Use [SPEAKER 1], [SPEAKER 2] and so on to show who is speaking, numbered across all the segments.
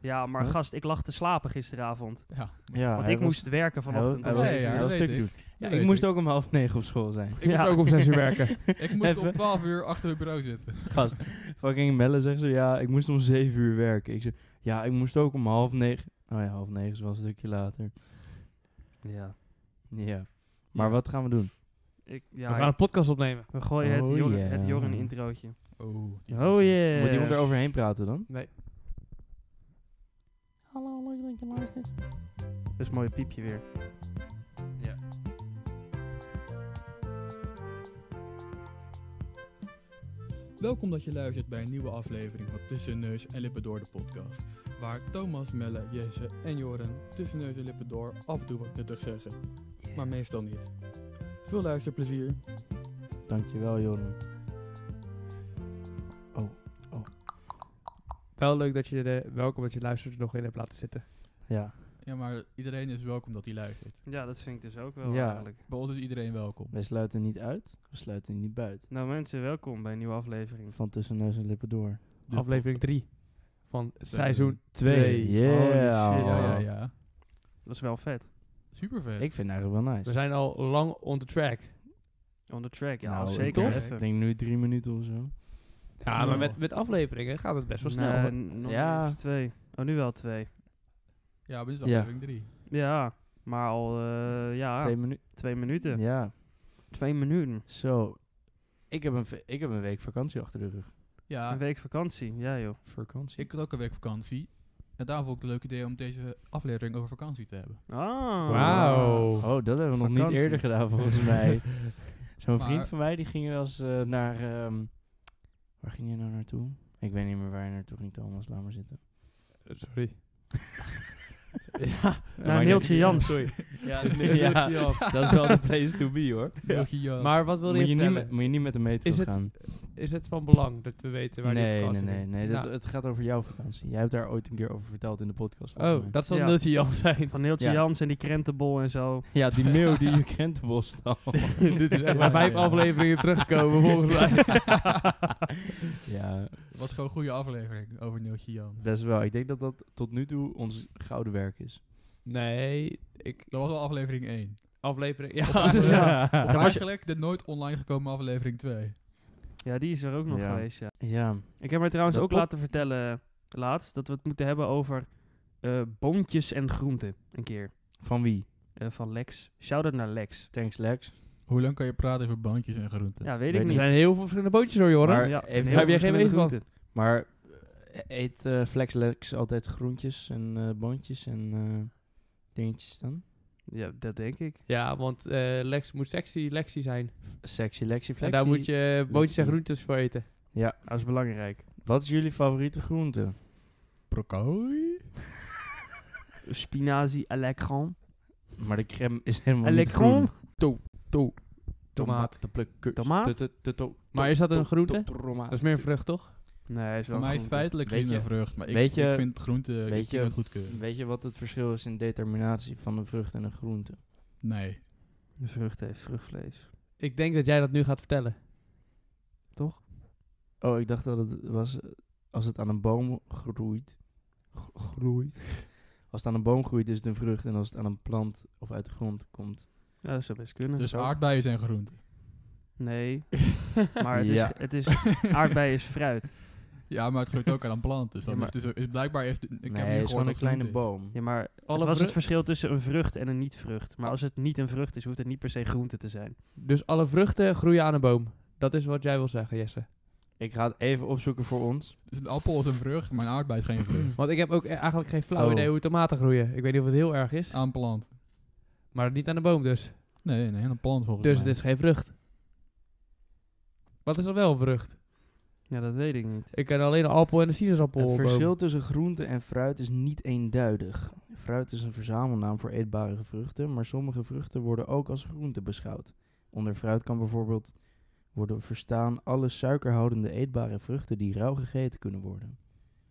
[SPEAKER 1] Ja, maar
[SPEAKER 2] Huh?
[SPEAKER 1] gast, ik lag te slapen gisteravond.
[SPEAKER 3] Ja,
[SPEAKER 2] Ja,
[SPEAKER 1] Want
[SPEAKER 2] hij
[SPEAKER 1] ik
[SPEAKER 2] was-
[SPEAKER 1] moest werken
[SPEAKER 2] hij was-
[SPEAKER 1] vanochtend.
[SPEAKER 2] Hij
[SPEAKER 1] om
[SPEAKER 2] was
[SPEAKER 1] zes
[SPEAKER 2] hij
[SPEAKER 3] Nee, ja,
[SPEAKER 1] uur.
[SPEAKER 2] was
[SPEAKER 3] dat weet
[SPEAKER 2] stuk
[SPEAKER 3] ik.
[SPEAKER 2] doen.
[SPEAKER 3] dat
[SPEAKER 2] Ja,
[SPEAKER 3] weet
[SPEAKER 2] ik moest ook om half negen op school zijn.
[SPEAKER 3] ik moest
[SPEAKER 1] Ja.
[SPEAKER 3] ook om zes uur werken. ik moest
[SPEAKER 2] Even.
[SPEAKER 3] om 12 uur achter het bureau zitten.
[SPEAKER 2] Gast, fucking Melle zegt zo, ja, ik moest om zeven uur werken. Ik zeg, ja, ik moest ook om half negen. Oh ja, half negen is wel een stukje later.
[SPEAKER 1] Ja.
[SPEAKER 2] Ja. Maar
[SPEAKER 3] Ja.
[SPEAKER 2] wat gaan we doen?
[SPEAKER 1] Ik,
[SPEAKER 4] We
[SPEAKER 1] ja,
[SPEAKER 4] gaan een podcast opnemen.
[SPEAKER 1] we gooien het,
[SPEAKER 2] Oh,
[SPEAKER 1] Jorren,
[SPEAKER 2] ja.
[SPEAKER 1] het Jorren introotje.
[SPEAKER 3] Oh, die
[SPEAKER 1] Oh
[SPEAKER 3] was-
[SPEAKER 1] yeah.
[SPEAKER 2] Moet iemand er overheen praten dan?
[SPEAKER 4] Nee.
[SPEAKER 2] Hallo, leuk dat je luistert.
[SPEAKER 1] Dat is een mooi piepje weer.
[SPEAKER 3] Welkom dat je luistert bij een nieuwe aflevering van Tussen Neus en Lippen Door de podcast. Waar Thomas, Melle, Jesse en Joren tussen neus en lippen door af en toe wat nuttig zeggen. Maar meestal niet. Veel luisterplezier.
[SPEAKER 2] Dankjewel, Oh, Joran.
[SPEAKER 4] Wel leuk dat je de welkom dat je luistert nog in hebt laten zitten.
[SPEAKER 2] Ja.
[SPEAKER 3] Ja, maar iedereen is welkom dat hij luistert.
[SPEAKER 1] Ja, dat vind ik dus ook wel
[SPEAKER 2] Ja.
[SPEAKER 1] eigenlijk.
[SPEAKER 3] Bij ons is iedereen welkom.
[SPEAKER 2] Wij sluiten niet uit, we sluiten niet buiten.
[SPEAKER 1] Nou mensen, welkom bij een nieuwe aflevering.
[SPEAKER 2] Van tussen neus en lippen door.
[SPEAKER 3] De
[SPEAKER 4] Aflevering 3 van seizoen
[SPEAKER 3] Seizoen
[SPEAKER 4] 2.
[SPEAKER 2] Yeah.
[SPEAKER 3] podcast. Ja, ja,
[SPEAKER 2] Oh.
[SPEAKER 3] ja.
[SPEAKER 1] Dat is wel vet.
[SPEAKER 3] Super vet.
[SPEAKER 2] Ik vind het eigenlijk wel
[SPEAKER 4] We
[SPEAKER 2] nice.
[SPEAKER 4] zijn al lang on the track.
[SPEAKER 1] On the track, ja,
[SPEAKER 2] Nou,
[SPEAKER 1] zeker.
[SPEAKER 3] toch?
[SPEAKER 2] Ik
[SPEAKER 1] Even.
[SPEAKER 2] denk nu drie minuten of zo.
[SPEAKER 4] Ja,
[SPEAKER 2] Oh.
[SPEAKER 4] maar met, met afleveringen gaat het best wel
[SPEAKER 2] Nou,
[SPEAKER 4] snel.
[SPEAKER 1] Nee,
[SPEAKER 4] hoor.
[SPEAKER 1] nog
[SPEAKER 2] Ja.
[SPEAKER 1] niet eens twee. Oh, nu wel twee.
[SPEAKER 3] Ja, dit is
[SPEAKER 2] Ja.
[SPEAKER 3] aflevering 3.
[SPEAKER 1] Ja, maar al eh, ja,
[SPEAKER 2] Twee
[SPEAKER 1] twee,
[SPEAKER 2] minuten.
[SPEAKER 1] minuten.
[SPEAKER 2] Ja.
[SPEAKER 1] Twee minuten.
[SPEAKER 2] Zo. Ik heb, een, ve- ik heb een week vakantie achter de rug.
[SPEAKER 3] Ja,
[SPEAKER 1] Een week vakantie, ja joh.
[SPEAKER 2] Vakantie?
[SPEAKER 3] ik had ook een week vakantie. En daarom vond ik het een leuk idee om deze aflevering over vakantie te hebben.
[SPEAKER 1] Ah.
[SPEAKER 4] Wauw.
[SPEAKER 2] Oh, dat hebben we nog niet
[SPEAKER 1] Vakantie.
[SPEAKER 2] eerder gedaan volgens mij. Zo'n
[SPEAKER 3] Maar-
[SPEAKER 2] vriend van mij die ging wel eens eh, naar. ehm, waar ging je nou naartoe? Ik weet niet meer waar je naartoe ging, Thomas. Laat maar zitten.
[SPEAKER 4] Sorry. ja,
[SPEAKER 1] Nou, Neeltje Jans.
[SPEAKER 4] sorry.
[SPEAKER 2] Ja,
[SPEAKER 4] Neeltje Jans.
[SPEAKER 2] dat is wel de place to be hoor.
[SPEAKER 3] Jochie Jan.
[SPEAKER 4] Maar wat wil
[SPEAKER 2] Moet
[SPEAKER 4] je,
[SPEAKER 2] je, niet
[SPEAKER 4] vertellen?
[SPEAKER 2] met, moet je niet met de metro
[SPEAKER 4] Is het
[SPEAKER 2] gaan.
[SPEAKER 4] Is het van belang dat we weten waar die
[SPEAKER 2] nee, nee,
[SPEAKER 4] vakantie
[SPEAKER 2] nee,
[SPEAKER 4] ging?
[SPEAKER 2] nee. Dat,
[SPEAKER 4] Nou,
[SPEAKER 2] Het gaat over jouw vakantie. Jij hebt daar ooit een keer over verteld in de podcast. volgens mij.
[SPEAKER 4] Oh, dat zal
[SPEAKER 1] Ja.
[SPEAKER 4] Neeltje Jan zijn.
[SPEAKER 1] Van Neeltje
[SPEAKER 2] Ja.
[SPEAKER 1] Jans en die krentenbol en zo.
[SPEAKER 2] Ja, die mail die je kent, Bos. al.
[SPEAKER 4] Dit is echt maar vijf
[SPEAKER 3] Ja.
[SPEAKER 4] afleveringen terugkomen volgens mij.
[SPEAKER 2] ja,
[SPEAKER 3] Het was gewoon een goede aflevering over Neeltje Jan.
[SPEAKER 2] best wel. Ik denk dat dat tot nu toe ons gouden werk is.
[SPEAKER 4] Nee, ik...
[SPEAKER 3] Dat was al aflevering 1.
[SPEAKER 4] Aflevering... Ja,
[SPEAKER 3] Ja. Of eigenlijk de nooit online gekomen aflevering 2.
[SPEAKER 1] Ja, die is er ook nog
[SPEAKER 2] Ja.
[SPEAKER 1] geweest, ja.
[SPEAKER 2] ja.
[SPEAKER 1] Ik heb mij trouwens
[SPEAKER 2] Dat
[SPEAKER 1] ook
[SPEAKER 2] pop-
[SPEAKER 1] laten vertellen eh, laatst dat we het moeten hebben over eh boontjes en groenten. Een keer.
[SPEAKER 2] Van wie?
[SPEAKER 1] Eh, van Lex. Shout-out naar Lex.
[SPEAKER 2] Thanks, Lex.
[SPEAKER 3] Hoe lang kan je praten over bandjes en groenten?
[SPEAKER 1] Ja, weet ik
[SPEAKER 2] Weet
[SPEAKER 4] Er
[SPEAKER 1] niet.
[SPEAKER 4] zijn heel veel verschillende bootjes hoor, Joran.
[SPEAKER 2] Maar-
[SPEAKER 1] ja,
[SPEAKER 2] heeft-
[SPEAKER 1] heel
[SPEAKER 2] heb
[SPEAKER 4] jij
[SPEAKER 1] veel
[SPEAKER 4] geen
[SPEAKER 1] verschillende
[SPEAKER 4] weet
[SPEAKER 1] groenten.
[SPEAKER 4] van?
[SPEAKER 2] Maar eh, eet eh, Flex Lex altijd groentjes en eh boontjes en eh, dingetjes dan?
[SPEAKER 1] Ja, dat denk ik.
[SPEAKER 4] Ja, want eh, Lex moet sexy Lexi zijn.
[SPEAKER 2] Sexy Lexi Flexi.
[SPEAKER 4] En daar moet je bootjes en groentes voor eten.
[SPEAKER 1] Dat is belangrijk.
[SPEAKER 2] Wat is jullie favoriete groente?
[SPEAKER 3] Broccoli?
[SPEAKER 1] Spinazie à la crème.
[SPEAKER 2] Maar de crème is helemaal
[SPEAKER 1] À la
[SPEAKER 2] niet groen.
[SPEAKER 1] crème?
[SPEAKER 4] Toe. Tomaat.
[SPEAKER 2] De pluk-
[SPEAKER 1] Tomaat?
[SPEAKER 2] de- de- de- to-
[SPEAKER 4] Maar is dat
[SPEAKER 2] to-
[SPEAKER 4] een groente?
[SPEAKER 2] to- tomaat.
[SPEAKER 4] Dat is meer een vrucht, toch?
[SPEAKER 1] Nee, is wel
[SPEAKER 3] Voor mij is
[SPEAKER 1] groente.
[SPEAKER 3] feitelijk
[SPEAKER 2] Weet
[SPEAKER 3] geen
[SPEAKER 2] je-
[SPEAKER 3] vrucht, maar ik,
[SPEAKER 2] weet je-
[SPEAKER 3] ik vind groente
[SPEAKER 2] weet
[SPEAKER 3] ik
[SPEAKER 2] je-
[SPEAKER 3] vind het goedkeur.
[SPEAKER 2] Weet je wat het verschil is in determinatie van een vrucht en een groente?
[SPEAKER 3] Nee. dus
[SPEAKER 1] De vrucht heeft vruchtvlees.
[SPEAKER 4] Ik denk dat jij dat nu gaat vertellen.
[SPEAKER 2] Oh, ik dacht dat het was eh, als het aan een boom groeit. g- Groeit. Als het aan een boom groeit, is het een vrucht. En als het aan een plant of uit de grond komt.
[SPEAKER 1] Ja, dat zou best kunnen.
[SPEAKER 3] Dus
[SPEAKER 1] Ook.
[SPEAKER 3] aardbeien zijn groente.
[SPEAKER 1] Nee. maar het is,
[SPEAKER 2] Ja.
[SPEAKER 1] het is aardbei is fruit.
[SPEAKER 3] Ja, maar het groeit ook aan een plant. Dus, dan
[SPEAKER 1] Ja,
[SPEAKER 3] is, dus is blijkbaar heeft. Ik
[SPEAKER 2] nee,
[SPEAKER 3] heb
[SPEAKER 2] het
[SPEAKER 3] nu
[SPEAKER 2] is gewoon
[SPEAKER 3] gewoon
[SPEAKER 2] een kleine boom.
[SPEAKER 1] Ja, maar
[SPEAKER 4] Alle
[SPEAKER 1] wat is het
[SPEAKER 4] vrucht-
[SPEAKER 1] verschil tussen een vrucht en een niet-vrucht? Maar als het niet een vrucht is, hoeft het niet per se groente te zijn.
[SPEAKER 4] Dus alle vruchten groeien aan een boom. Dat is wat jij wil zeggen, Jesse.
[SPEAKER 2] Ik ga het even opzoeken voor ons.
[SPEAKER 3] Dus een appel is een vrucht, maar een aardbei is geen vrucht.
[SPEAKER 4] Want ik heb ook eh, eigenlijk geen flauw
[SPEAKER 2] Oh.
[SPEAKER 4] idee hoe tomaten groeien. Ik weet niet of het heel erg is,
[SPEAKER 3] Aan een plant.
[SPEAKER 4] maar niet aan de boom dus.
[SPEAKER 3] Nee, nee, aan een plant volgens
[SPEAKER 4] Dus
[SPEAKER 3] mij.
[SPEAKER 4] het is geen vrucht. Wat is dan wel een vrucht?
[SPEAKER 1] Ja, dat weet ik niet.
[SPEAKER 4] Ik ken alleen een appel en een sinaasappel.
[SPEAKER 2] het verschil tussen groente en fruit is niet eenduidig. Fruit is een verzamelnaam voor eetbare vruchten, maar sommige vruchten worden ook als groente beschouwd. Onder fruit kan bijvoorbeeld worden verstaan alle suikerhoudende eetbare vruchten die rauw gegeten kunnen worden.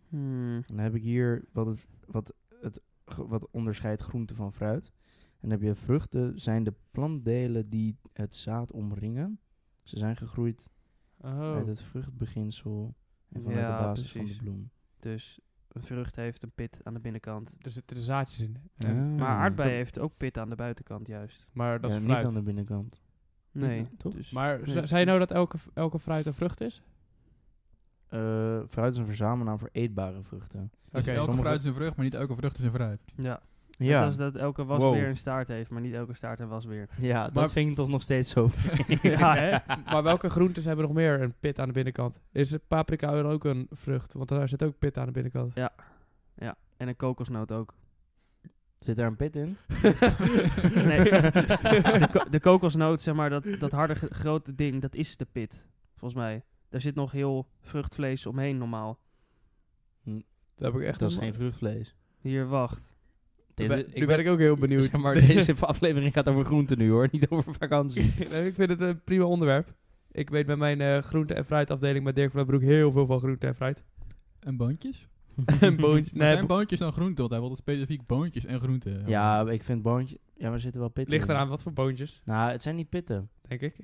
[SPEAKER 1] Hmm.
[SPEAKER 2] Dan heb ik hier wat, het, wat, het, ge- wat onderscheidt groente van fruit. En dan heb je vruchten, zijn de plantdelen die het zaad omringen. Ze zijn gegroeid
[SPEAKER 4] Oh.
[SPEAKER 2] uit het vruchtbeginsel en vanuit
[SPEAKER 1] Ja,
[SPEAKER 2] de basis van
[SPEAKER 1] precies.
[SPEAKER 2] de bloem.
[SPEAKER 1] Dus een vrucht heeft een pit aan de binnenkant.
[SPEAKER 4] Er zitten de zaadjes in.
[SPEAKER 2] Ja.
[SPEAKER 4] En-
[SPEAKER 1] Maar
[SPEAKER 2] Ah.
[SPEAKER 1] aardbei heeft ook pit aan de buitenkant juist.
[SPEAKER 4] Maar dat
[SPEAKER 2] ja,
[SPEAKER 4] is
[SPEAKER 2] niet
[SPEAKER 4] fruit.
[SPEAKER 2] aan de binnenkant.
[SPEAKER 1] Nee,
[SPEAKER 2] Toch?
[SPEAKER 1] dus
[SPEAKER 4] Maar
[SPEAKER 1] Nee,
[SPEAKER 4] ze-
[SPEAKER 1] precies.
[SPEAKER 4] zei je nou dat elke, elke fruit een vrucht is?
[SPEAKER 2] Eh, fruit is een verzamelnaam voor eetbare vruchten.
[SPEAKER 4] Oké.
[SPEAKER 5] Dus elke
[SPEAKER 2] sommige-
[SPEAKER 5] fruit is een vrucht, maar niet elke vrucht is een fruit.
[SPEAKER 1] ja.
[SPEAKER 2] Ja,
[SPEAKER 1] Net als dat elke was
[SPEAKER 2] Wow.
[SPEAKER 1] weer een staart heeft, maar niet elke staart een was weer.
[SPEAKER 2] ja dat
[SPEAKER 4] Maar-
[SPEAKER 2] vind ik toch nog steeds zo.
[SPEAKER 1] ja, hè?
[SPEAKER 4] maar welke groentes hebben nog meer een pit aan de binnenkant? Is paprika dan ook een vrucht? Want daar zit ook pit aan de binnenkant.
[SPEAKER 1] En een kokosnoot ook.
[SPEAKER 2] Zit daar een pit in?
[SPEAKER 1] Nee. de, ko- de kokosnoot, zeg maar, dat, dat harde ge- grote ding, dat is de pit. Volgens mij. Daar zit nog heel vruchtvlees omheen normaal.
[SPEAKER 4] Dat heb ik echt
[SPEAKER 2] Dat is
[SPEAKER 4] nog-
[SPEAKER 2] geen vruchtvlees.
[SPEAKER 1] Hier, wacht.
[SPEAKER 4] Nu
[SPEAKER 2] Dit-
[SPEAKER 4] ben- nu ben ik ook heel benieuwd.
[SPEAKER 2] Zeg maar deze aflevering gaat over groenten nu hoor, niet over vakantie.
[SPEAKER 4] Nee, ik vind het een prima onderwerp. Ik weet bij mijn eh, groente- en fruitafdeling bij Dirk van den Broek heel veel van groente en fruit.
[SPEAKER 5] En boontjes?
[SPEAKER 4] en boontje.
[SPEAKER 5] Nee,
[SPEAKER 4] Nee,
[SPEAKER 5] zijn
[SPEAKER 4] bo-
[SPEAKER 5] boontjes dan groenten? Want hij wilde specifiek boontjes en groenten. eh,
[SPEAKER 2] Ja, ik vind boontje. Ja, maar er zitten wel pitten
[SPEAKER 4] ligt
[SPEAKER 2] in.
[SPEAKER 4] eraan wat voor boontjes,
[SPEAKER 2] Nou, het zijn niet pitten.
[SPEAKER 4] denk ik.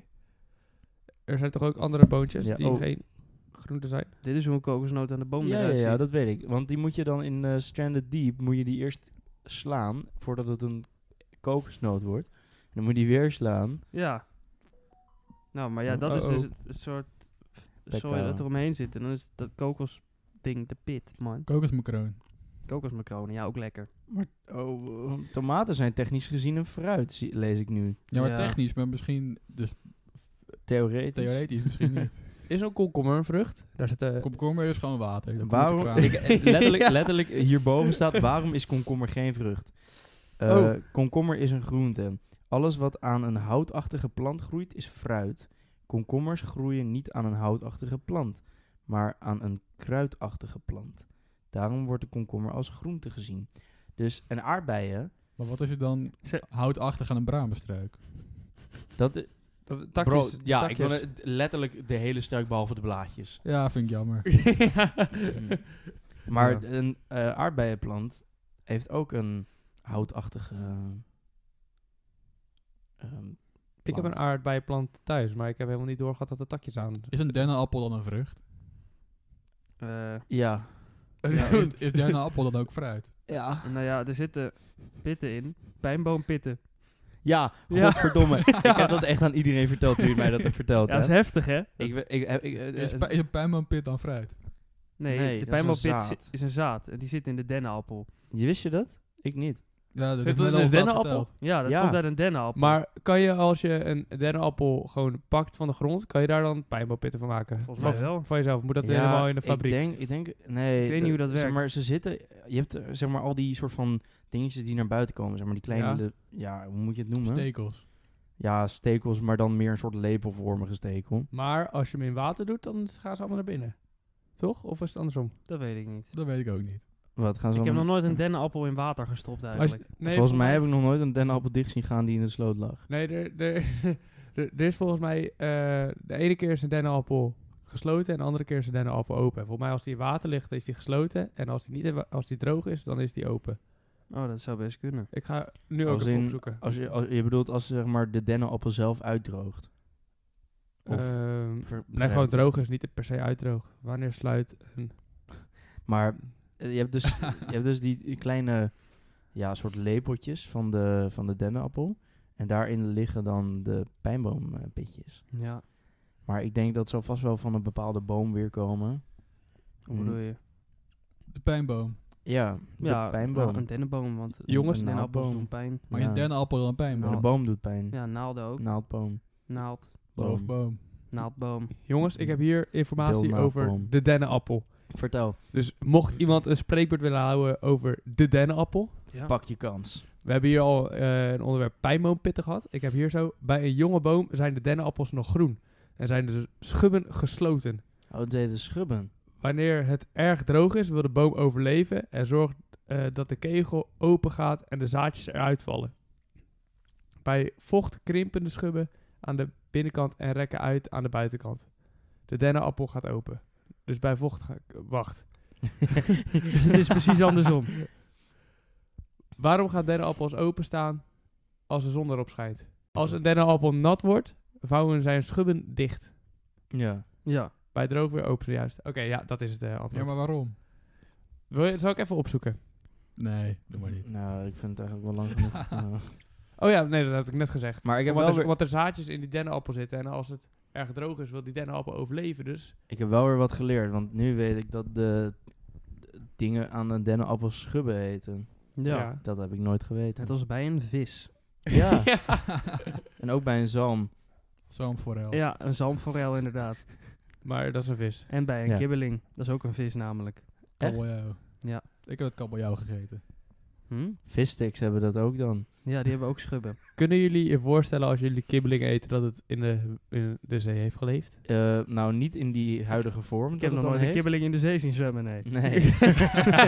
[SPEAKER 4] Er zijn toch ook andere boontjes
[SPEAKER 2] Ja,
[SPEAKER 4] die
[SPEAKER 2] oh.
[SPEAKER 4] geen groente zijn?
[SPEAKER 1] Dit is hoe een kokosnoot aan de boom
[SPEAKER 2] ja, ja,
[SPEAKER 1] eruit
[SPEAKER 2] ja,
[SPEAKER 1] ziet.
[SPEAKER 2] dat weet ik. Want die moet je dan in eh, Stranded Deep, moet je die eerst slaan voordat het een kokosnoot wordt. En dan moet je die weer slaan.
[SPEAKER 1] Ja. Nou, maar ja, dat is
[SPEAKER 4] Uh-oh.
[SPEAKER 1] dus het, het soort zooi
[SPEAKER 2] Pekka.
[SPEAKER 1] dat er omheen zit. En dan is dat kokosding de pit, man.
[SPEAKER 5] Kokosmacroon.
[SPEAKER 1] Kokosmacronen, ja, ook lekker.
[SPEAKER 2] Maar oh, eh, tomaten zijn technisch gezien een fruit, zie- lees ik nu.
[SPEAKER 5] Ja, maar
[SPEAKER 1] Ja.
[SPEAKER 5] technisch, maar misschien, dus
[SPEAKER 2] Theoretisch.
[SPEAKER 5] theoretisch misschien niet.
[SPEAKER 4] Is een komkommer een vrucht? Daar zit eh,
[SPEAKER 5] Komkommer is gewoon water. Dat komt uit de
[SPEAKER 2] Waarom,
[SPEAKER 5] kraan.
[SPEAKER 2] ik, eh, letterlijk,
[SPEAKER 4] Ja.
[SPEAKER 2] letterlijk hierboven staat, waarom is komkommer geen vrucht? Eh,
[SPEAKER 4] Oh.
[SPEAKER 2] Komkommer is een groente. Alles wat aan een houtachtige plant groeit is fruit. Komkommers groeien niet aan een houtachtige plant, maar aan een kruidachtige plant. Daarom wordt de komkommer als groente gezien. Dus en aardbeien,
[SPEAKER 5] Maar wat als je dan
[SPEAKER 1] Ze-
[SPEAKER 5] houtachtig aan een bramenstruik?
[SPEAKER 2] dat i-
[SPEAKER 4] dat- takjes.
[SPEAKER 2] Bro, ja, ik
[SPEAKER 4] takjes.
[SPEAKER 2] wil letterlijk de hele struik behalve de blaadjes.
[SPEAKER 5] Ja, vind ik jammer.
[SPEAKER 4] Ja.
[SPEAKER 2] Mm. Maar
[SPEAKER 4] Ja.
[SPEAKER 2] een eh, aardbeienplant heeft ook een houtachtige. ehm,
[SPEAKER 4] Ik heb een
[SPEAKER 2] Plant.
[SPEAKER 4] aardbeienplant thuis, maar ik heb helemaal niet doorgehad dat er takjes aan.
[SPEAKER 5] Is een dennenappel dan een vrucht?
[SPEAKER 1] Eh,
[SPEAKER 2] ja.
[SPEAKER 5] Ja, is, is dennenappel dan ook fruit?
[SPEAKER 2] Ja.
[SPEAKER 1] nou ja, er zitten pitten in. Pijnboompitten.
[SPEAKER 2] Ja,
[SPEAKER 1] Ja.
[SPEAKER 2] godverdomme. Ik heb dat echt aan iedereen verteld toen je mij dat hebt verteld.
[SPEAKER 1] Ja, dat is
[SPEAKER 2] hè?
[SPEAKER 1] heftig, hè?
[SPEAKER 2] Ik, we- ik, ik, ik, eh,
[SPEAKER 5] Is,
[SPEAKER 2] eh,
[SPEAKER 5] pi- is een pijnboompit dan fruit?
[SPEAKER 1] Nee,
[SPEAKER 2] Nee,
[SPEAKER 1] de
[SPEAKER 2] dat is een
[SPEAKER 1] pijnboompit zi-
[SPEAKER 2] zaad.
[SPEAKER 1] is een zaad. En die zit in de dennenappel.
[SPEAKER 2] je wist je dat? Ik niet.
[SPEAKER 5] Ja, dat
[SPEAKER 4] Zit
[SPEAKER 5] heeft
[SPEAKER 4] dat
[SPEAKER 5] men
[SPEAKER 4] in
[SPEAKER 5] al
[SPEAKER 4] een
[SPEAKER 5] laatst
[SPEAKER 4] dennenappel?
[SPEAKER 5] verteld.
[SPEAKER 1] Ja, dat
[SPEAKER 2] Ja.
[SPEAKER 1] komt uit een dennenappel.
[SPEAKER 4] Maar kan je als je een dennenappel gewoon pakt van de grond, kan je daar dan pijnboompitten van maken?
[SPEAKER 1] Volgens mij
[SPEAKER 4] Van-
[SPEAKER 1] wel.
[SPEAKER 4] Van jezelf. Moet dat
[SPEAKER 2] Ja,
[SPEAKER 4] helemaal in de fabriek?
[SPEAKER 2] Ik denk, ik denk nee. eh,
[SPEAKER 1] Ik weet niet hoe dat
[SPEAKER 2] zeg
[SPEAKER 1] werkt.
[SPEAKER 2] Maar ze zitten, je hebt eh, zeg maar al die soort van dingetjes die naar buiten komen. Zeg maar die kleine,
[SPEAKER 4] Ja.
[SPEAKER 2] de- ja hoe moet je het noemen?
[SPEAKER 5] Stekels.
[SPEAKER 2] Ja, stekels, maar dan meer een soort lepelvormige stekel.
[SPEAKER 4] Maar als je hem in water doet, dan gaan ze allemaal naar binnen. Toch? Of is het andersom?
[SPEAKER 1] dat weet ik niet.
[SPEAKER 5] Dat weet ik ook niet.
[SPEAKER 2] Wat gaan ze
[SPEAKER 1] Ik heb nog
[SPEAKER 2] allemaal-
[SPEAKER 1] nooit een dennenappel in water gestopt
[SPEAKER 4] Als je-
[SPEAKER 1] eigenlijk.
[SPEAKER 4] nee,
[SPEAKER 2] Volgens mij heb ik nog nooit een dennenappel dicht zien gaan die in de sloot lag.
[SPEAKER 4] Nee, er, er, er, er is volgens mij... eh, de ene keer is een dennenappel gesloten en de andere keer is een dennenappel open. En volgens mij als die in water ligt, dan is die gesloten. En als die, niet in wa- als die droog is, dan is die open.
[SPEAKER 1] Oh, dat zou best kunnen.
[SPEAKER 4] Ik ga nu ook
[SPEAKER 2] Als
[SPEAKER 4] even
[SPEAKER 2] in-
[SPEAKER 4] opzoeken.
[SPEAKER 2] Als je, als, je bedoelt als zeg maar, de dennenappel zelf uitdroogt. Of
[SPEAKER 4] Ehm,
[SPEAKER 2] ver-
[SPEAKER 4] nee, gewoon droog is niet per se uitdroog. Wanneer sluit een...
[SPEAKER 2] Maar eh, je hebt dus, je hebt dus die, die kleine ja, soort lepeltjes van de, van de dennenappel. En daarin liggen dan de pijnboompitjes.
[SPEAKER 1] Ja,
[SPEAKER 2] Maar ik denk dat ze vast wel van een bepaalde boom weer komen.
[SPEAKER 1] hoe
[SPEAKER 2] Mm.
[SPEAKER 1] bedoel je?
[SPEAKER 5] De pijnboom.
[SPEAKER 2] Ja, de
[SPEAKER 1] ja,
[SPEAKER 2] pijnboom.
[SPEAKER 1] nou, een dennenboom, want
[SPEAKER 4] Jongens,
[SPEAKER 1] een dennenappels
[SPEAKER 2] naaldboom.
[SPEAKER 1] doen pijn.
[SPEAKER 5] Maar
[SPEAKER 2] Ja.
[SPEAKER 5] is een dennenappel dan een pijnboom?
[SPEAKER 1] Nou,
[SPEAKER 2] De boom doet pijn.
[SPEAKER 1] Ja, naalden ook.
[SPEAKER 2] Naaldboom.
[SPEAKER 1] Naald,
[SPEAKER 2] boom.
[SPEAKER 5] Loofboom.
[SPEAKER 1] naaldboom.
[SPEAKER 4] Jongens, ik heb hier informatie
[SPEAKER 2] Wilma
[SPEAKER 4] over
[SPEAKER 2] Palm.
[SPEAKER 4] de dennenappel.
[SPEAKER 2] Vertel,
[SPEAKER 4] Dus mocht iemand een spreekbeurt willen houden over de dennenappel.
[SPEAKER 1] Ja.
[SPEAKER 2] pak je kans.
[SPEAKER 4] We hebben hier al eh, een onderwerp pijnboompitten gehad. Ik heb hier zo, bij een jonge boom zijn de dennenappels nog groen. En zijn de schubben gesloten.
[SPEAKER 2] Oh, het deed de schubben.
[SPEAKER 4] Wanneer het erg droog is, wil de boom overleven en zorgt eh, dat de kegel open gaat en de zaadjes eruit vallen. Bij vocht krimpen de schubben aan de binnenkant en rekken uit aan de buitenkant. De dennenappel gaat open. Dus bij vocht ga wacht.
[SPEAKER 1] het is precies andersom.
[SPEAKER 4] Waarom gaan dennenappels openstaan als de zon erop schijnt? Als een dennenappel nat wordt, vouwen zijn schubben dicht.
[SPEAKER 2] Ja.
[SPEAKER 1] Ja,
[SPEAKER 4] Bij droog weer open, juist. Oké, ja, dat is het eh, antwoord.
[SPEAKER 5] Ja, maar waarom?
[SPEAKER 4] Wil je, zal ik even opzoeken?
[SPEAKER 5] Nee, doe maar niet.
[SPEAKER 2] Nou, ik vind het eigenlijk wel lang genoeg. Nou,
[SPEAKER 4] Oh ja, nee, dat had ik net gezegd.
[SPEAKER 2] Maar ik heb,
[SPEAKER 4] want,
[SPEAKER 2] wel
[SPEAKER 4] er,
[SPEAKER 2] weer,
[SPEAKER 4] want er zaadjes in die dennenappel zitten. En als het erg droog is, wil die dennenappel overleven. Dus
[SPEAKER 2] ik heb wel weer wat geleerd, want nu weet ik dat de de dingen aan een dennenappel schubben heten.
[SPEAKER 1] Ja.
[SPEAKER 2] Dat heb ik nooit geweten.
[SPEAKER 1] Het was bij een vis.
[SPEAKER 2] Ja,
[SPEAKER 4] Ja.
[SPEAKER 2] en ook bij een zalm.
[SPEAKER 5] Sam Forel.
[SPEAKER 1] Ja, een zalmforel inderdaad.
[SPEAKER 4] Maar dat is een vis.
[SPEAKER 1] En bij een
[SPEAKER 2] Ja.
[SPEAKER 1] kibbeling. Dat is ook een vis namelijk.
[SPEAKER 5] Kabeljauw.
[SPEAKER 1] Ja.
[SPEAKER 5] eh, Ik heb het kabeljauw gegeten.
[SPEAKER 1] Hm?
[SPEAKER 2] Vissticks hebben dat ook dan.
[SPEAKER 1] Ja, die hebben ook schubben.
[SPEAKER 4] Kunnen jullie je voorstellen als jullie kibbeling eten dat het in de, in de zee heeft geleefd?
[SPEAKER 2] Eh, nou, niet in die huidige vorm.
[SPEAKER 1] Ik heb nog nooit een kibbeling in de zee zien zwemmen, nee.
[SPEAKER 2] Nee.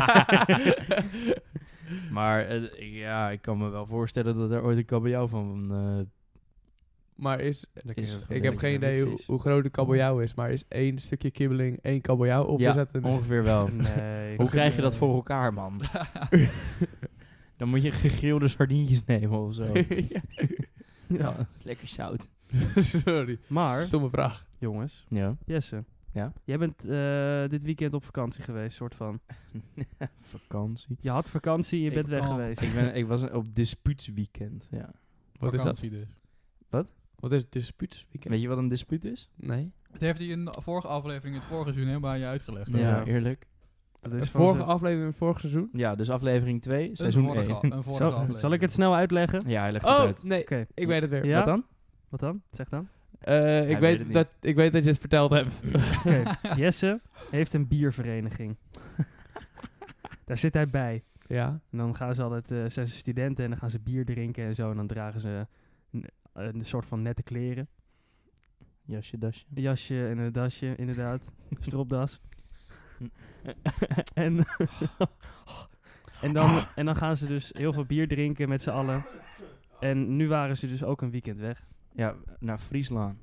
[SPEAKER 2] maar eh, ja, ik kan me wel voorstellen dat er ooit een kabeljauw van... eh,
[SPEAKER 4] maar is,
[SPEAKER 1] Dat
[SPEAKER 2] Is-
[SPEAKER 1] is,
[SPEAKER 2] ik
[SPEAKER 4] ik heb geen
[SPEAKER 1] een
[SPEAKER 4] idee hoe,
[SPEAKER 1] witvis.
[SPEAKER 4] hoe groot de kabeljauw is. Maar is één stukje kibbeling één kabeljauw? Of
[SPEAKER 2] Mm. Ja,
[SPEAKER 4] is dat een...
[SPEAKER 2] ongeveer wel.
[SPEAKER 1] Nee.
[SPEAKER 2] Hoe
[SPEAKER 1] ik-
[SPEAKER 2] krijg je dat
[SPEAKER 5] eh,
[SPEAKER 2] voor elkaar, man? Dan moet je gegrilde sardientjes nemen of zo.
[SPEAKER 4] Ja.
[SPEAKER 1] Ja.
[SPEAKER 2] Lekker zout.
[SPEAKER 4] Sorry.
[SPEAKER 1] Maar,
[SPEAKER 4] Stomme vraag.
[SPEAKER 1] jongens,
[SPEAKER 2] Ja.
[SPEAKER 1] Jesse.
[SPEAKER 2] Ja?
[SPEAKER 1] Jij bent eh, dit weekend op vakantie geweest, soort van.
[SPEAKER 2] Vakantie.
[SPEAKER 1] Je had vakantie en je
[SPEAKER 5] Ik
[SPEAKER 1] bent weg
[SPEAKER 5] kan-
[SPEAKER 1] geweest.
[SPEAKER 2] Dus Ik, ben, ik was op dispuutsweekend. Ja.
[SPEAKER 4] Wat is dat?
[SPEAKER 5] Vakantie dus.
[SPEAKER 4] Wat is het dispuutsweekend?
[SPEAKER 2] Weet je wat een dispuut is?
[SPEAKER 4] Nee.
[SPEAKER 5] Het heeft hij in de vorige aflevering, in het vorige seizoen, helemaal aan je uitgelegd.
[SPEAKER 1] Ja.
[SPEAKER 5] hè?
[SPEAKER 2] eerlijk.
[SPEAKER 1] Dat is van
[SPEAKER 4] vorige
[SPEAKER 1] ze-
[SPEAKER 4] aflevering, vorig seizoen?
[SPEAKER 2] Ja, dus aflevering 2, seizoen
[SPEAKER 5] een vorige,
[SPEAKER 2] 1.
[SPEAKER 5] a- een vorige
[SPEAKER 1] zal,
[SPEAKER 5] aflevering.
[SPEAKER 1] zal ik het snel uitleggen?
[SPEAKER 2] Ja, hij legt het
[SPEAKER 4] Oh,
[SPEAKER 2] uit.
[SPEAKER 4] nee.
[SPEAKER 1] Oké.
[SPEAKER 4] Ik weet het weer.
[SPEAKER 1] Ja?
[SPEAKER 2] Wat dan?
[SPEAKER 1] Wat dan? Zeg dan.
[SPEAKER 4] Eh, ik,
[SPEAKER 2] weet
[SPEAKER 4] weet
[SPEAKER 2] het niet.
[SPEAKER 4] dat, ik weet dat je het verteld hebt.
[SPEAKER 1] Oké, Jesse heeft een biervereniging. Daar zit hij bij.
[SPEAKER 4] ja.
[SPEAKER 1] En dan gaan ze altijd, eh, zijn ze studenten en dan gaan ze bier drinken en zo. En dan dragen ze een, een soort van nette kleren.
[SPEAKER 2] Jasje, dasje.
[SPEAKER 1] Een jasje en een dasje, inderdaad. Een Stropdas. en, en, dan, en dan gaan ze dus heel veel bier drinken met z'n allen. En nu waren ze dus ook een weekend weg.
[SPEAKER 2] Ja, naar Friesland.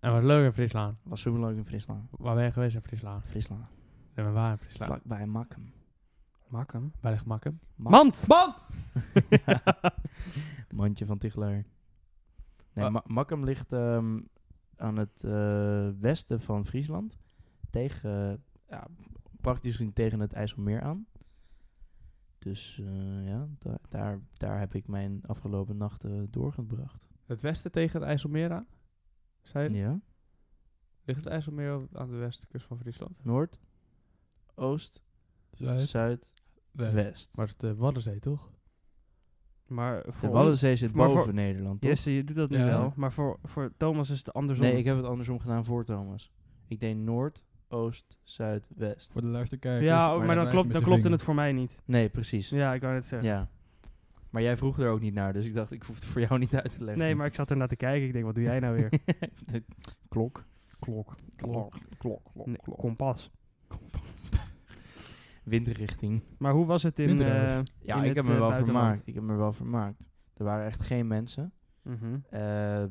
[SPEAKER 4] En wat leuk in Friesland.
[SPEAKER 2] Was super leuk in Friesland.
[SPEAKER 4] Waar ben je geweest in Friesland?
[SPEAKER 2] Friesland.
[SPEAKER 4] En we waren in Friesland.
[SPEAKER 2] Vlakbij Makkum.
[SPEAKER 1] Makkem.
[SPEAKER 4] Waar ligt Makkum?
[SPEAKER 2] Mak-
[SPEAKER 1] Mand!
[SPEAKER 5] Band!
[SPEAKER 2] Mandje van Tichelaar. Nee,
[SPEAKER 4] Ah.
[SPEAKER 2] Ma- Makkum ligt ehm, aan het eh, westen van Friesland. Tegen, eh, ja, praktisch gezien tegen het IJsselmeer aan. Dus eh, ja, da- daar, daar heb ik mijn afgelopen nachten doorgebracht.
[SPEAKER 4] Het westen tegen het IJsselmeer aan? Zei je?
[SPEAKER 2] Ja.
[SPEAKER 4] Ligt het IJsselmeer op- aan de westkust van Friesland?
[SPEAKER 2] Noord, oost,
[SPEAKER 5] Zuid,
[SPEAKER 2] zuid,
[SPEAKER 5] west.
[SPEAKER 2] west.
[SPEAKER 4] Maar het is de Waddenzee, toch?
[SPEAKER 1] Maar voor
[SPEAKER 2] De
[SPEAKER 1] ons-
[SPEAKER 2] Waddenzee zit
[SPEAKER 1] Maar voor-
[SPEAKER 2] boven Nederland, toch?
[SPEAKER 1] Jesse, je doet dat nu
[SPEAKER 5] Ja.
[SPEAKER 1] wel. Maar voor, voor Thomas is het andersom.
[SPEAKER 2] Nee, ik heb het andersom gedaan voor Thomas. Ik deed noord, oost, zuid, west.
[SPEAKER 5] Voor de luisterkijkers.
[SPEAKER 2] dus,
[SPEAKER 1] ja, maar,
[SPEAKER 5] hij
[SPEAKER 1] dan,
[SPEAKER 5] wijst
[SPEAKER 1] klopt,
[SPEAKER 5] met zijn
[SPEAKER 1] dan klopte het
[SPEAKER 5] vinger.
[SPEAKER 1] voor mij niet.
[SPEAKER 2] Nee, precies.
[SPEAKER 1] Ja, ik wou net zeggen.
[SPEAKER 2] Ja. Maar jij vroeg er ook niet naar, dus ik dacht, ik hoef het voor jou niet uit te leggen.
[SPEAKER 1] Nee, maar ik zat ernaar te kijken. Ik denk, wat doe jij nou weer?
[SPEAKER 2] De klok.
[SPEAKER 1] Klok.
[SPEAKER 2] Klok, klok, klok,
[SPEAKER 1] Nee,
[SPEAKER 2] klok.
[SPEAKER 1] kompas.
[SPEAKER 2] Windrichting.
[SPEAKER 1] Maar hoe was het in...
[SPEAKER 5] Winter
[SPEAKER 1] eh,
[SPEAKER 5] trouwens.
[SPEAKER 2] Ja,
[SPEAKER 1] in
[SPEAKER 2] ik
[SPEAKER 1] het,
[SPEAKER 2] heb me
[SPEAKER 1] eh,
[SPEAKER 2] wel
[SPEAKER 1] buitenland?
[SPEAKER 2] vermaakt. Ik heb me wel vermaakt. Er waren echt geen mensen.
[SPEAKER 1] Mhm.
[SPEAKER 2] Eh, eh,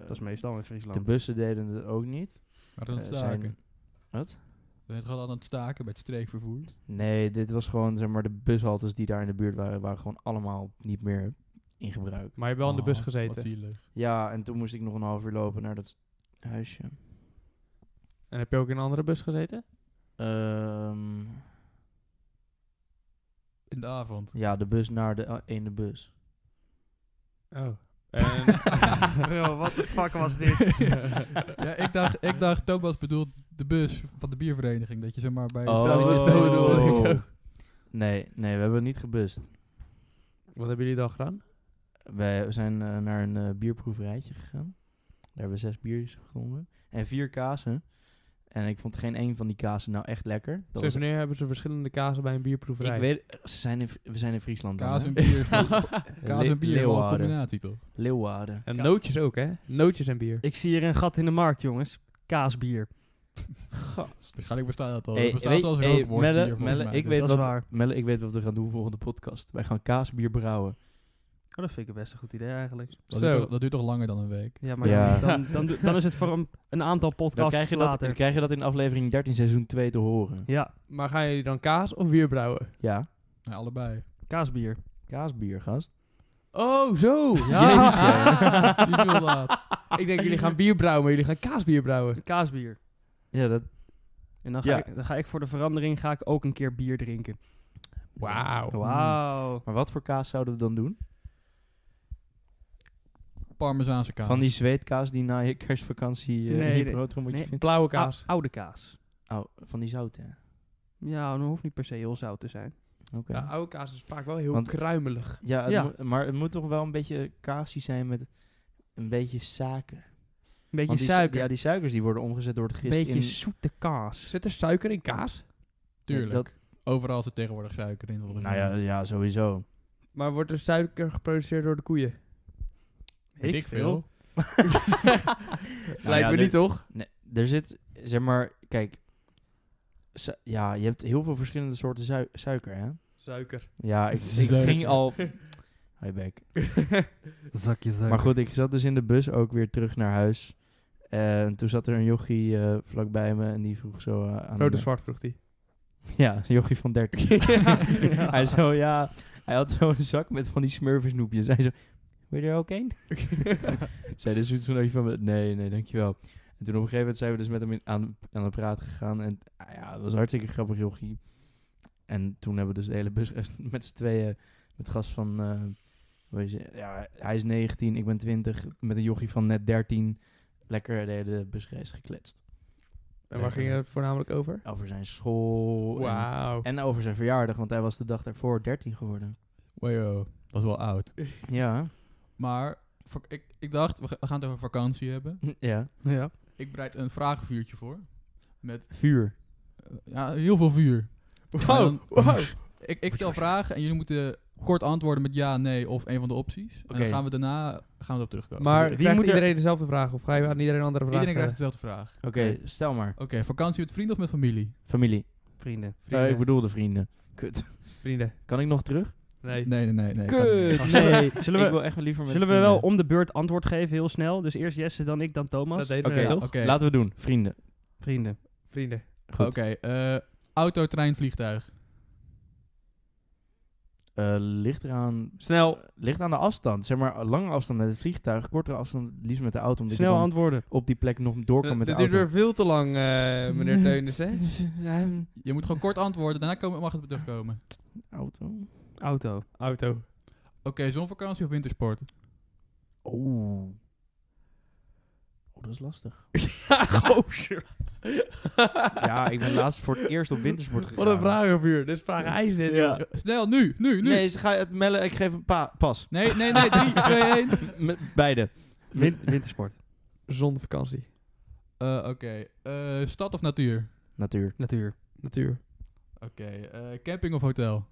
[SPEAKER 1] Dat is meestal in
[SPEAKER 2] de
[SPEAKER 1] Friesland.
[SPEAKER 2] bussen deden het ook niet.
[SPEAKER 5] Maar dan
[SPEAKER 2] Eh,
[SPEAKER 5] staken.
[SPEAKER 2] zijn- Wat?
[SPEAKER 5] Het gaat aan het staken bij het streekvervoer.
[SPEAKER 2] Nee, dit was gewoon, zeg maar, de bushaltes die daar in de buurt waren, waren gewoon allemaal niet meer in gebruik.
[SPEAKER 4] Maar je hebt wel in
[SPEAKER 2] Oh,
[SPEAKER 4] de bus gezeten.
[SPEAKER 5] Oh, Wat zielig.
[SPEAKER 2] Ja, en toen moest ik nog een half uur lopen naar dat s- huisje.
[SPEAKER 4] En heb je ook in een andere bus gezeten?
[SPEAKER 2] Ehm,
[SPEAKER 5] In de avond.
[SPEAKER 2] ja, de bus naar de eh, ene bus.
[SPEAKER 4] Oh. En,
[SPEAKER 1] Bro, what the fuck was dit?
[SPEAKER 5] ja, ik dacht, ik dacht, Thomas bedoelt de bus van de biervereniging. Dat je zeg maar bij
[SPEAKER 2] Oh.
[SPEAKER 5] Zou je iets mee bedoelen?
[SPEAKER 2] Oh. Nee, nee, we hebben niet gebust.
[SPEAKER 4] wat hebben jullie dan gedaan?
[SPEAKER 2] Wij we zijn eh, naar een eh, bierproeverijtje gegaan. Daar hebben we zes biertjes gedronken. En vier kazen. En ik vond geen één van die kazen nou echt lekker. Dat
[SPEAKER 4] Sinds
[SPEAKER 2] was,
[SPEAKER 4] wanneer hebben ze verschillende kazen bij een bierproeverij?
[SPEAKER 2] ik weet, eh, ze zijn in, we zijn in Friesland. dan,
[SPEAKER 5] Kaas
[SPEAKER 2] hè?
[SPEAKER 5] en bier. is toch- Kaas
[SPEAKER 2] Le-
[SPEAKER 5] en bier is wel een
[SPEAKER 2] Leeuwarden.
[SPEAKER 5] combinatie toch?
[SPEAKER 2] Leeuwarden.
[SPEAKER 4] En nootjes ook, hè? Nootjes en bier.
[SPEAKER 1] Ik zie hier een gat in de markt, jongens. Kaasbier.
[SPEAKER 2] Gast.
[SPEAKER 5] Waarschijnlijk bestaat Oh, dat al.
[SPEAKER 2] Hey,
[SPEAKER 5] Het bestaat
[SPEAKER 2] weet-
[SPEAKER 5] als
[SPEAKER 2] hey,
[SPEAKER 5] rookworst
[SPEAKER 2] Melle,
[SPEAKER 5] bier volgens
[SPEAKER 2] Melle,
[SPEAKER 5] mij,
[SPEAKER 2] ik
[SPEAKER 5] dus-
[SPEAKER 2] weet
[SPEAKER 1] dat is
[SPEAKER 2] wat-
[SPEAKER 1] waar.
[SPEAKER 2] Melle, ik weet wat we gaan doen volgende podcast. Wij gaan kaasbier brouwen.
[SPEAKER 1] Oh, dat vind ik best een goed idee eigenlijk.
[SPEAKER 5] Dat duurt,
[SPEAKER 4] Zo.
[SPEAKER 5] toch, dat duurt toch langer dan een week?
[SPEAKER 1] Ja, maar
[SPEAKER 2] Ja.
[SPEAKER 1] Dan, dan, dan, dan is het voor een, een aantal podcasts
[SPEAKER 2] Dan krijg, je dat,
[SPEAKER 1] later.
[SPEAKER 2] dan krijg je dat in aflevering 13 seizoen 2 te horen.
[SPEAKER 1] Ja,
[SPEAKER 4] Maar gaan jullie dan kaas of bier brouwen?
[SPEAKER 2] Ja,
[SPEAKER 5] Ja, allebei.
[SPEAKER 1] kaasbier.
[SPEAKER 2] kaasbier, gast.
[SPEAKER 4] Oh, zo!
[SPEAKER 2] Ja.
[SPEAKER 4] Ah.
[SPEAKER 5] Niet veel laat.
[SPEAKER 4] ik denk, jullie gaan bier brouwen, maar jullie gaan kaasbier brouwen.
[SPEAKER 1] Kaasbier.
[SPEAKER 2] Ja, dat,
[SPEAKER 1] En En dan ga,
[SPEAKER 3] Ja.
[SPEAKER 1] ik, dan ga ik voor de verandering ga ik ook een keer bier drinken.
[SPEAKER 4] Wauw.
[SPEAKER 2] Oh.
[SPEAKER 1] Wauw.
[SPEAKER 2] Hmm. Maar wat voor kaas zouden we dan doen?
[SPEAKER 3] Parmezaanse kaas.
[SPEAKER 2] Van die zweetkaas die na je kerstvakantie eh,
[SPEAKER 1] Nee,
[SPEAKER 2] in je
[SPEAKER 1] nee.
[SPEAKER 2] broodrommeltje
[SPEAKER 1] Nee.
[SPEAKER 2] vindt?
[SPEAKER 4] Blauwe
[SPEAKER 1] Ou-
[SPEAKER 4] kaas.
[SPEAKER 1] oude kaas.
[SPEAKER 2] Oh, van die zout, hè? Oké.
[SPEAKER 1] Ja, dat hoeft niet per se heel zout te zijn.
[SPEAKER 4] Ja, oude kaas is vaak wel heel
[SPEAKER 2] Want-
[SPEAKER 4] kruimelig.
[SPEAKER 2] Ja, het
[SPEAKER 1] Ja.
[SPEAKER 2] moet- maar het moet toch wel een beetje kaasie zijn met een beetje suiker.
[SPEAKER 1] Een beetje
[SPEAKER 2] Want die su-
[SPEAKER 1] suiker.
[SPEAKER 2] Ja,
[SPEAKER 1] Een
[SPEAKER 2] die suikers die worden omgezet door het gist
[SPEAKER 1] beetje
[SPEAKER 2] in...
[SPEAKER 1] zoete kaas.
[SPEAKER 4] Zit er suiker in kaas?
[SPEAKER 2] Ja,
[SPEAKER 3] Tuurlijk. Overal zit tegenwoordig suiker in. volgens
[SPEAKER 2] nou
[SPEAKER 3] mij.
[SPEAKER 2] ja, ja, sowieso.
[SPEAKER 4] Maar wordt er suiker geproduceerd door de koeien?
[SPEAKER 3] Weet ik veel.
[SPEAKER 2] Nou
[SPEAKER 4] Lijkt
[SPEAKER 2] ja,
[SPEAKER 4] me
[SPEAKER 2] de-
[SPEAKER 4] niet, toch?
[SPEAKER 2] Nee, er zit, zeg maar, kijk... su- ja, je hebt heel veel verschillende soorten sui- suiker, hè?
[SPEAKER 4] Suiker.
[SPEAKER 2] Ja, ik, ik
[SPEAKER 3] Suiker.
[SPEAKER 2] ging al... Hi, Beck.
[SPEAKER 1] Zakje suiker.
[SPEAKER 2] Maar goed, ik zat dus in de bus ook weer terug naar huis. En toen zat er een jochie eh, vlakbij me en die vroeg zo eh, aan...
[SPEAKER 4] Rode zwart vroeg die.
[SPEAKER 2] Ja, een jochie van 30. Hij zo, ja... Hij had zo'n zak met van die smurfensnoepjes. Hij zo, wil je er ook een? zei de zoetsoenlootje van me, nee, nee, dankjewel. En toen op een gegeven moment zijn we dus met hem in- aan, aan de praat gegaan. En ah ja, het was hartstikke grappig, jochie. En toen hebben we dus de hele bus met z'n tweeën, met gast van... eh, hoe heet ze? ja, hij is 19, ik ben 20, met een jochie van net 13. Lekker de hele busreis gekletst.
[SPEAKER 4] En waar ging het voornamelijk over?
[SPEAKER 2] Over zijn school en-
[SPEAKER 4] Wauw.
[SPEAKER 2] en over zijn verjaardag, want hij was de dag daarvoor 13 geworden.
[SPEAKER 3] Wajo, dat is wel oud.
[SPEAKER 2] Ja.
[SPEAKER 3] Maar vak- ik, ik dacht, we ga- we gaan het over vakantie hebben.
[SPEAKER 2] Ja.
[SPEAKER 1] Ja.
[SPEAKER 3] Ik bereid een vragenvuurtje voor. Met
[SPEAKER 2] Vuur.
[SPEAKER 3] eh, ja, heel veel vuur.
[SPEAKER 2] Oh,
[SPEAKER 3] Maar dan-
[SPEAKER 4] wow.
[SPEAKER 3] ik, ik stel vragen en jullie moeten kort antwoorden met ja, nee of een van de opties. En
[SPEAKER 2] Oké.
[SPEAKER 3] dan gaan we daarna gaan we erop terugkomen.
[SPEAKER 4] Maar
[SPEAKER 1] Wie
[SPEAKER 4] krijgt
[SPEAKER 1] moet er-
[SPEAKER 4] iedereen dezelfde vraag? Of ga je aan iedereen een andere vraag
[SPEAKER 3] Iedereen krijgt
[SPEAKER 4] stellen?
[SPEAKER 3] dezelfde vraag.
[SPEAKER 2] Oké, stel maar.
[SPEAKER 4] Oh.
[SPEAKER 3] Oké, vakantie met vrienden of met familie?
[SPEAKER 2] Familie.
[SPEAKER 1] Vrienden.
[SPEAKER 2] Eh,
[SPEAKER 4] Vrienden.
[SPEAKER 2] ik bedoel de vrienden. Kut.
[SPEAKER 4] Vrienden.
[SPEAKER 2] Kan ik nog terug?
[SPEAKER 4] Nee.
[SPEAKER 3] Nee, nee, nee. nee
[SPEAKER 2] Kut.
[SPEAKER 3] kan niet.
[SPEAKER 1] Nee,
[SPEAKER 2] Zullen
[SPEAKER 1] zullen
[SPEAKER 2] we,
[SPEAKER 1] we,
[SPEAKER 2] echt liever met
[SPEAKER 1] zullen we wel om de beurt antwoord geven, heel snel? Dus eerst Jesse, dan ik, dan Thomas.
[SPEAKER 4] Dat deden
[SPEAKER 2] Oké,
[SPEAKER 4] we net,
[SPEAKER 3] ja.
[SPEAKER 4] toch?
[SPEAKER 3] Oké.
[SPEAKER 2] Laten we doen. Vrienden.
[SPEAKER 1] Vrienden.
[SPEAKER 4] Vrienden.
[SPEAKER 2] Goed.
[SPEAKER 3] Oké, eh, auto, trein, vliegtuig.
[SPEAKER 2] Eh, ligt, eraan,
[SPEAKER 1] Snel,
[SPEAKER 2] ligt aan de afstand. Zeg maar, lange afstand met het vliegtuig, kortere afstand het liefst met de auto. Omdat je
[SPEAKER 1] snel
[SPEAKER 2] dan
[SPEAKER 1] antwoorden.
[SPEAKER 2] op die plek nog door kan met de
[SPEAKER 4] Eh, Dit duurt
[SPEAKER 2] auto.
[SPEAKER 4] weer veel te lang, eh, meneer Teunissen.
[SPEAKER 2] Ehm,
[SPEAKER 3] Je moet gewoon kort antwoorden, daarna komen, mag het op terugkomen.
[SPEAKER 2] auto.
[SPEAKER 1] Auto.
[SPEAKER 4] Auto.
[SPEAKER 3] Oké, zonvakantie of wintersport?
[SPEAKER 2] Oeh. Oh, dat is lastig.
[SPEAKER 4] Gozer.
[SPEAKER 2] ja, ik ben laatst voor het eerst op wintersport gegaan.
[SPEAKER 4] Wat een vragenvuur. Dit is vraag ijs dit. joh.
[SPEAKER 3] Snel, nu, nu, nu. Nee,
[SPEAKER 2] Nee, ze ga het mellen. Ik geef een pa pas.
[SPEAKER 3] nee, nee, 3, 2, 1.
[SPEAKER 2] Met beide.
[SPEAKER 1] Win- wintersport.
[SPEAKER 4] Zonder vakantie.
[SPEAKER 3] Oké, eh, stad of natuur?
[SPEAKER 2] Natuur.
[SPEAKER 1] Natuur.
[SPEAKER 4] Natuur.
[SPEAKER 3] Oké, eh, camping of hotel?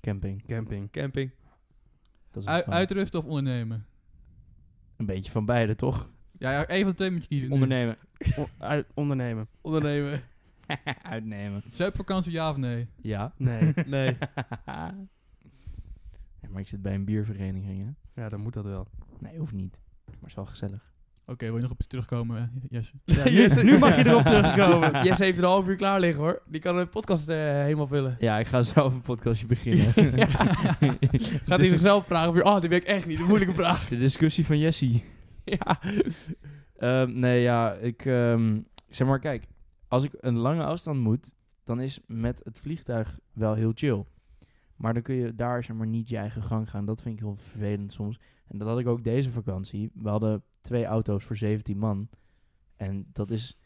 [SPEAKER 2] Camping.
[SPEAKER 1] Camping.
[SPEAKER 4] Camping.
[SPEAKER 2] Dat is
[SPEAKER 3] Ui-
[SPEAKER 2] fun.
[SPEAKER 3] uitrusten of ondernemen?
[SPEAKER 2] Een beetje van beide, toch?
[SPEAKER 3] Ja, ja, één van de twee moet je kiezen. nu.
[SPEAKER 2] Ondernemen.
[SPEAKER 1] O- uit- ondernemen.
[SPEAKER 4] Ondernemen.
[SPEAKER 2] Uitnemen.
[SPEAKER 3] Zuipvakantie, ja of nee?
[SPEAKER 2] Ja.
[SPEAKER 1] Nee.
[SPEAKER 4] Nee.
[SPEAKER 2] Ja, maar ik zit bij een biervereniging, hè?
[SPEAKER 1] Ja, dan moet dat wel.
[SPEAKER 2] Nee, hoeft niet. Maar het is wel gezellig.
[SPEAKER 3] Oké, wil je nog op terugkomen, eh, Jesse?
[SPEAKER 4] Ja,
[SPEAKER 1] Jesse, nu mag je erop terugkomen.
[SPEAKER 4] Jesse heeft er een half uur klaar liggen hoor. Die kan een podcast eh, helemaal vullen.
[SPEAKER 2] Ja, ik ga zelf een podcastje beginnen.
[SPEAKER 4] Ja. Gaat hij zichzelf vragen of je... Oh, die weet ik echt niet. Een moeilijke vraag.
[SPEAKER 2] De discussie van Jessie.
[SPEAKER 4] Ja.
[SPEAKER 2] Ehm, nee, ja, ik ehm, zeg maar, kijk, als ik een lange afstand moet, dan is met het vliegtuig wel heel chill. Maar dan kun je daar zeg maar niet je eigen gang gaan. Dat vind ik heel vervelend soms. En dat had ik ook deze vakantie. We hadden twee auto's voor 17 man. En dat is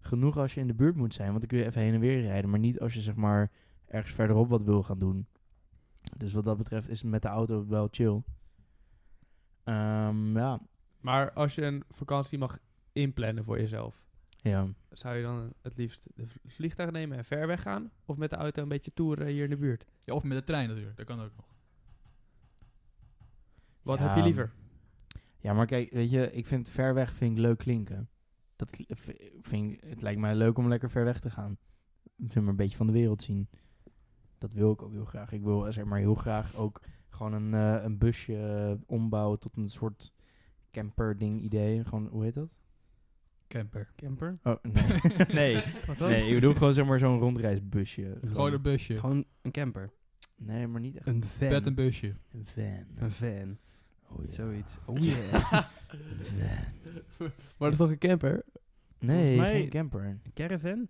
[SPEAKER 2] genoeg als je in de buurt moet zijn, want dan kun je even heen en weer rijden. Maar niet als je zeg maar ergens verderop wat wil gaan doen. Dus wat dat betreft is het met de auto wel chill. Ehm, ja,
[SPEAKER 4] Maar als je een vakantie mag inplannen voor jezelf...
[SPEAKER 2] ja.
[SPEAKER 4] Zou je dan het liefst de v- vliegtuig nemen en ver weg gaan? Of met de auto een beetje toeren hier in de buurt?
[SPEAKER 3] Ja, of met de trein natuurlijk, dat kan ook nog.
[SPEAKER 4] Wat
[SPEAKER 2] Ja,
[SPEAKER 4] heb je liever?
[SPEAKER 2] Ja, maar kijk, weet je, ik vind ver weg vind ik leuk klinken. Dat kl- v- vind ik, het lijkt mij leuk om lekker ver weg te gaan. Ik wil maar een beetje van de wereld zien. Dat wil ik ook heel graag. Ik wil eh, zeg maar heel graag ook gewoon een, eh, een busje eh, ombouwen tot een soort camper ding idee. Gewoon, hoe heet dat?
[SPEAKER 3] Camper.
[SPEAKER 1] Camper.
[SPEAKER 2] Oh, nee. nee.
[SPEAKER 1] Wat dan?
[SPEAKER 2] Nee, ik bedoel gewoon zeg maar zo'n rondreisbusje.
[SPEAKER 3] Gewoon een busje.
[SPEAKER 1] Gewoon een camper.
[SPEAKER 2] Nee, maar niet echt
[SPEAKER 1] Een van.
[SPEAKER 3] Bed en busje.
[SPEAKER 2] een van.
[SPEAKER 1] Een van.
[SPEAKER 2] Oh, ja.
[SPEAKER 1] Zoiets. Oh yeah.
[SPEAKER 2] Van.
[SPEAKER 4] Maar dat is toch een camper?
[SPEAKER 2] Nee,
[SPEAKER 1] mij-
[SPEAKER 2] geen camper.
[SPEAKER 1] Een caravan?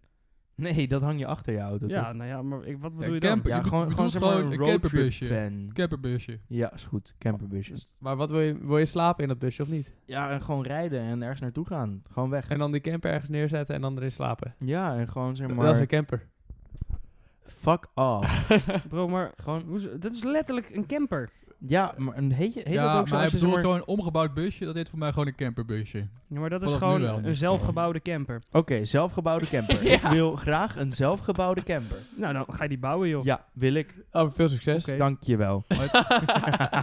[SPEAKER 2] Nee, dat hang je achter je auto,
[SPEAKER 1] Ja,
[SPEAKER 2] toch?
[SPEAKER 1] nou ja, maar ik, wat bedoel
[SPEAKER 3] Ja,
[SPEAKER 1] je dan?
[SPEAKER 3] camper.
[SPEAKER 2] Ja,
[SPEAKER 3] Je
[SPEAKER 2] gewoon,
[SPEAKER 3] bedoelt
[SPEAKER 2] gewoon, zeg maar
[SPEAKER 3] gewoon
[SPEAKER 2] een
[SPEAKER 3] een
[SPEAKER 2] roadtrip
[SPEAKER 3] camperbusje.
[SPEAKER 2] fan.
[SPEAKER 3] Camperbusje.
[SPEAKER 2] Ja, is goed. Camperbusje.
[SPEAKER 4] Maar wat wil je, wil je slapen in dat busje of niet?
[SPEAKER 2] Ja, en gewoon rijden en ergens naartoe gaan. Gewoon weg.
[SPEAKER 4] En dan die camper ergens neerzetten en dan erin slapen.
[SPEAKER 2] Ja, en gewoon zeg maar...
[SPEAKER 4] Dat is een camper.
[SPEAKER 2] Fuck off.
[SPEAKER 1] Bro, maar
[SPEAKER 2] gewoon...
[SPEAKER 1] hoe ze- dat is letterlijk een camper.
[SPEAKER 2] Ja, maar een heet, je- heet
[SPEAKER 3] ja,
[SPEAKER 2] dat ook zo als
[SPEAKER 3] maar hij
[SPEAKER 2] je zeg
[SPEAKER 3] bedoelt
[SPEAKER 2] maar-
[SPEAKER 3] gewoon een omgebouwd busje. Dat heet voor mij gewoon een camperbusje.
[SPEAKER 1] Ja, maar dat is
[SPEAKER 3] Vanaf nu
[SPEAKER 1] gewoon
[SPEAKER 3] wel. dus,
[SPEAKER 1] een zelfgebouwde camper.
[SPEAKER 2] Oké, zelfgebouwde camper. Ik wil graag een zelfgebouwde camper.
[SPEAKER 1] Nou, dan ga je die bouwen, joh.
[SPEAKER 2] Ja, wil ik.
[SPEAKER 4] Oh, veel succes.
[SPEAKER 1] Oké.
[SPEAKER 2] Dank je wel.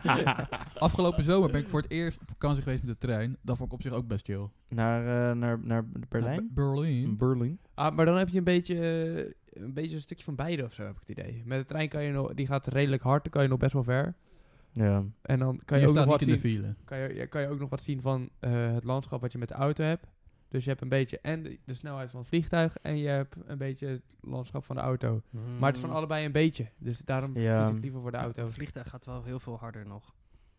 [SPEAKER 3] Afgelopen zomer ben ik voor het eerst op vakantie geweest met de trein. Dat vond ik op zich ook best chill.
[SPEAKER 2] Naar, eh, naar, naar Berlijn? Hmm.
[SPEAKER 3] Naar Be- Berlijn.
[SPEAKER 2] Berlijn.
[SPEAKER 4] Ah, maar dan heb je een beetje, eh, een beetje een stukje van beide of zo, heb ik het idee. Met de trein kan je nog, die gaat redelijk hard, dan kan je nog best wel ver.
[SPEAKER 2] Ja.
[SPEAKER 4] En dan kan
[SPEAKER 3] Kan
[SPEAKER 4] je,
[SPEAKER 3] je
[SPEAKER 4] ook nog
[SPEAKER 3] staat
[SPEAKER 4] wat
[SPEAKER 3] niet in de
[SPEAKER 4] zien,
[SPEAKER 3] file.
[SPEAKER 4] kan, je, ja, kan je ook nog wat zien van eh, het landschap wat je met de auto hebt. Dus je hebt een beetje en de, de snelheid van het vliegtuig en je hebt een beetje het landschap van de auto. Maar het is van allebei een beetje. Dus daarom
[SPEAKER 2] Ja.
[SPEAKER 4] kies ik liever voor de auto.
[SPEAKER 1] Hmm. Het vliegtuig gaat wel heel veel harder nog.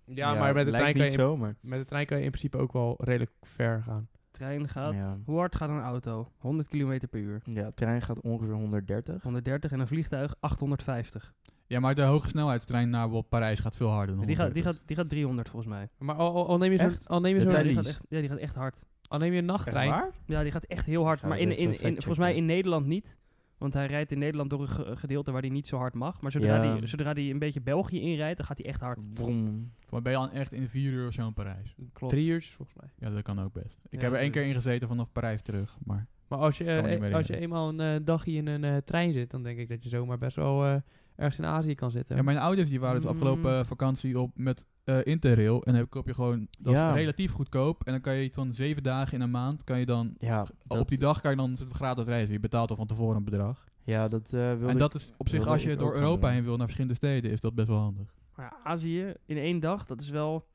[SPEAKER 4] Ja, maar met de,
[SPEAKER 2] lijkt
[SPEAKER 4] trein kan
[SPEAKER 2] niet
[SPEAKER 4] je in,
[SPEAKER 2] zo, maar...
[SPEAKER 4] met de trein kan je in principe ook wel redelijk ver gaan.
[SPEAKER 1] Trein gaat...
[SPEAKER 2] Ja.
[SPEAKER 1] Hoe hard gaat een auto? 100 km per uur.
[SPEAKER 2] Ja, trein gaat ongeveer 130.
[SPEAKER 1] 130 en een vliegtuig 850.
[SPEAKER 3] Ja, maar de hogesnelheidstrein naar bijvoorbeeld Parijs gaat veel harder dan
[SPEAKER 1] Die gaat, die,
[SPEAKER 3] 130.
[SPEAKER 1] gaat, die gaat 300 volgens mij.
[SPEAKER 4] Maar al, al, al neem je zo'n
[SPEAKER 2] Echt?
[SPEAKER 4] al neem je
[SPEAKER 2] De
[SPEAKER 4] zo'n-
[SPEAKER 1] Ja,
[SPEAKER 2] Thalys.
[SPEAKER 1] die gaat echt, ja, die gaat echt hard.
[SPEAKER 4] al neem je een nachttrein.
[SPEAKER 1] Ja, die gaat echt heel hard.
[SPEAKER 2] Gaan
[SPEAKER 1] Maar
[SPEAKER 2] we
[SPEAKER 1] in,
[SPEAKER 2] even
[SPEAKER 1] in, in,
[SPEAKER 2] factchecken.
[SPEAKER 1] volgens mij in Nederland niet. Want hij rijdt in Nederland door een ge- gedeelte waar hij niet zo hard mag. Maar zodra
[SPEAKER 2] Ja.
[SPEAKER 1] die- zodra hij een beetje België inrijdt, dan gaat hij echt hard.
[SPEAKER 2] Vroom.
[SPEAKER 3] Voor mij ben je dan echt in vier uur of zo in Parijs.
[SPEAKER 1] Klopt.
[SPEAKER 4] Drie uurtjes volgens mij.
[SPEAKER 3] Ja, dat kan ook best.
[SPEAKER 1] Ja,
[SPEAKER 3] Ik heb er één
[SPEAKER 1] natuurlijk.
[SPEAKER 3] keer in gezeten vanaf Parijs terug. Maar
[SPEAKER 4] Maar als je,
[SPEAKER 3] me niet
[SPEAKER 4] eh,
[SPEAKER 3] meer
[SPEAKER 4] als je
[SPEAKER 3] herinneren.
[SPEAKER 4] eenmaal een eh, dagje in een eh, trein zit, dan denk ik dat je zomaar best wel eh, ergens in Azië kan zitten.
[SPEAKER 3] ja, mijn ouders die waren het
[SPEAKER 1] Mm.
[SPEAKER 3] afgelopen eh, vakantie op met eh, Interrail. En dan koop je gewoon, dat
[SPEAKER 2] Ja.
[SPEAKER 3] is relatief goedkoop. En dan kan je iets van zeven dagen in een maand, kan je dan,
[SPEAKER 2] Ja, dat,
[SPEAKER 3] op die dag kan je dan gratis reizen. Je betaalt al van tevoren een bedrag.
[SPEAKER 2] ja, dat eh, wilde
[SPEAKER 3] En
[SPEAKER 2] ik-
[SPEAKER 3] dat is op zich,
[SPEAKER 2] wilde
[SPEAKER 3] als je
[SPEAKER 2] ik ook
[SPEAKER 3] door
[SPEAKER 2] gaan
[SPEAKER 3] Europa
[SPEAKER 2] doen.
[SPEAKER 3] heen wil naar verschillende steden, is dat best wel handig.
[SPEAKER 1] Maar ja, Azië in één dag, dat is wel...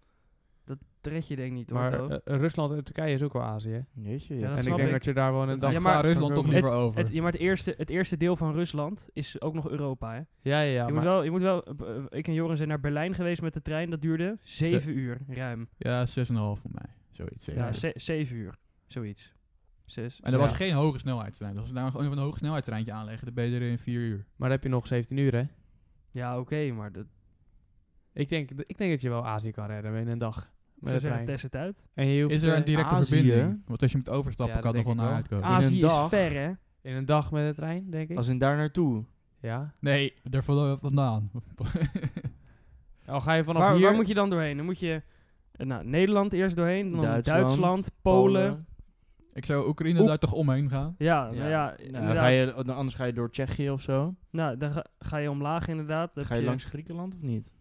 [SPEAKER 1] Dat red je denk ik niet hoor.
[SPEAKER 4] maar
[SPEAKER 1] Toon.
[SPEAKER 4] eh, Rusland en Turkije is ook wel Azië. hè?
[SPEAKER 2] Jeetje,
[SPEAKER 1] Ja,
[SPEAKER 2] ja.
[SPEAKER 1] dat
[SPEAKER 4] en ik
[SPEAKER 1] snap
[SPEAKER 4] denk
[SPEAKER 1] ik.
[SPEAKER 4] dat je daar wel een dag
[SPEAKER 3] ja,
[SPEAKER 1] maar-
[SPEAKER 3] maar Rusland toch
[SPEAKER 4] Het-
[SPEAKER 3] liever over.
[SPEAKER 1] het, ja, maar het eerste, het eerste deel van Rusland is ook nog Europa, hè?
[SPEAKER 4] Ja, ja, ja.
[SPEAKER 1] je, moet
[SPEAKER 4] maar-
[SPEAKER 1] wel, je moet wel... eh, eh, Ik en Joren zijn naar Berlijn geweest met de trein. Dat duurde zeven uur, ruim.
[SPEAKER 3] ja, 6,5 voor mij. Zoiets. zeker.
[SPEAKER 1] Ja, ze- zeven uur. Zoiets. Zes.
[SPEAKER 3] en er
[SPEAKER 1] ja.
[SPEAKER 3] was geen hoge snelheidstrein. Dus Als ze daar gewoon een hoge snelheidstreintje aanleggen, dan ben je er in vier uur.
[SPEAKER 4] Maar dan heb je nog 17 uur, hè?
[SPEAKER 1] Ja, oké, maar dat...
[SPEAKER 4] Ik denk, ik denk dat je wel Azië kan redden in een dag.
[SPEAKER 1] Ze
[SPEAKER 4] Met de
[SPEAKER 1] zeggen,
[SPEAKER 4] trein.
[SPEAKER 1] test het uit.
[SPEAKER 4] En je hoeft,
[SPEAKER 3] Is er
[SPEAKER 4] eh,
[SPEAKER 3] een directe
[SPEAKER 2] Azië?
[SPEAKER 3] verbinding? Want als je moet overstappen,
[SPEAKER 4] Ja,
[SPEAKER 3] kan
[SPEAKER 4] dat
[SPEAKER 3] het nog wel naar
[SPEAKER 4] denk
[SPEAKER 3] uitkomen.
[SPEAKER 1] Azië
[SPEAKER 2] dag.
[SPEAKER 1] is ver, hè?
[SPEAKER 4] in een dag met de trein, denk ik.
[SPEAKER 2] Als in daar naartoe.
[SPEAKER 4] Ja.
[SPEAKER 3] Nee, daar vand- vandaan.
[SPEAKER 4] Al ga je vanaf
[SPEAKER 1] Waar,
[SPEAKER 4] hier...
[SPEAKER 1] waar moet je dan doorheen? Dan moet je eh, nou, Nederland eerst doorheen, dan Duitsland,
[SPEAKER 2] Duitsland,
[SPEAKER 1] Polen.
[SPEAKER 2] Nou,
[SPEAKER 3] ik zou Oekraïne
[SPEAKER 1] Oep.
[SPEAKER 3] daar toch omheen gaan.
[SPEAKER 1] Ja, nou
[SPEAKER 2] Ja.
[SPEAKER 1] ja,
[SPEAKER 2] Nou, dan
[SPEAKER 1] inderdaad.
[SPEAKER 2] ga je, dan- anders ga je door Tsjechië of zo.
[SPEAKER 1] Nou, dan ga, ga je omlaag inderdaad. Dan
[SPEAKER 2] Ga
[SPEAKER 1] heb
[SPEAKER 2] je langs Griekenland of niet?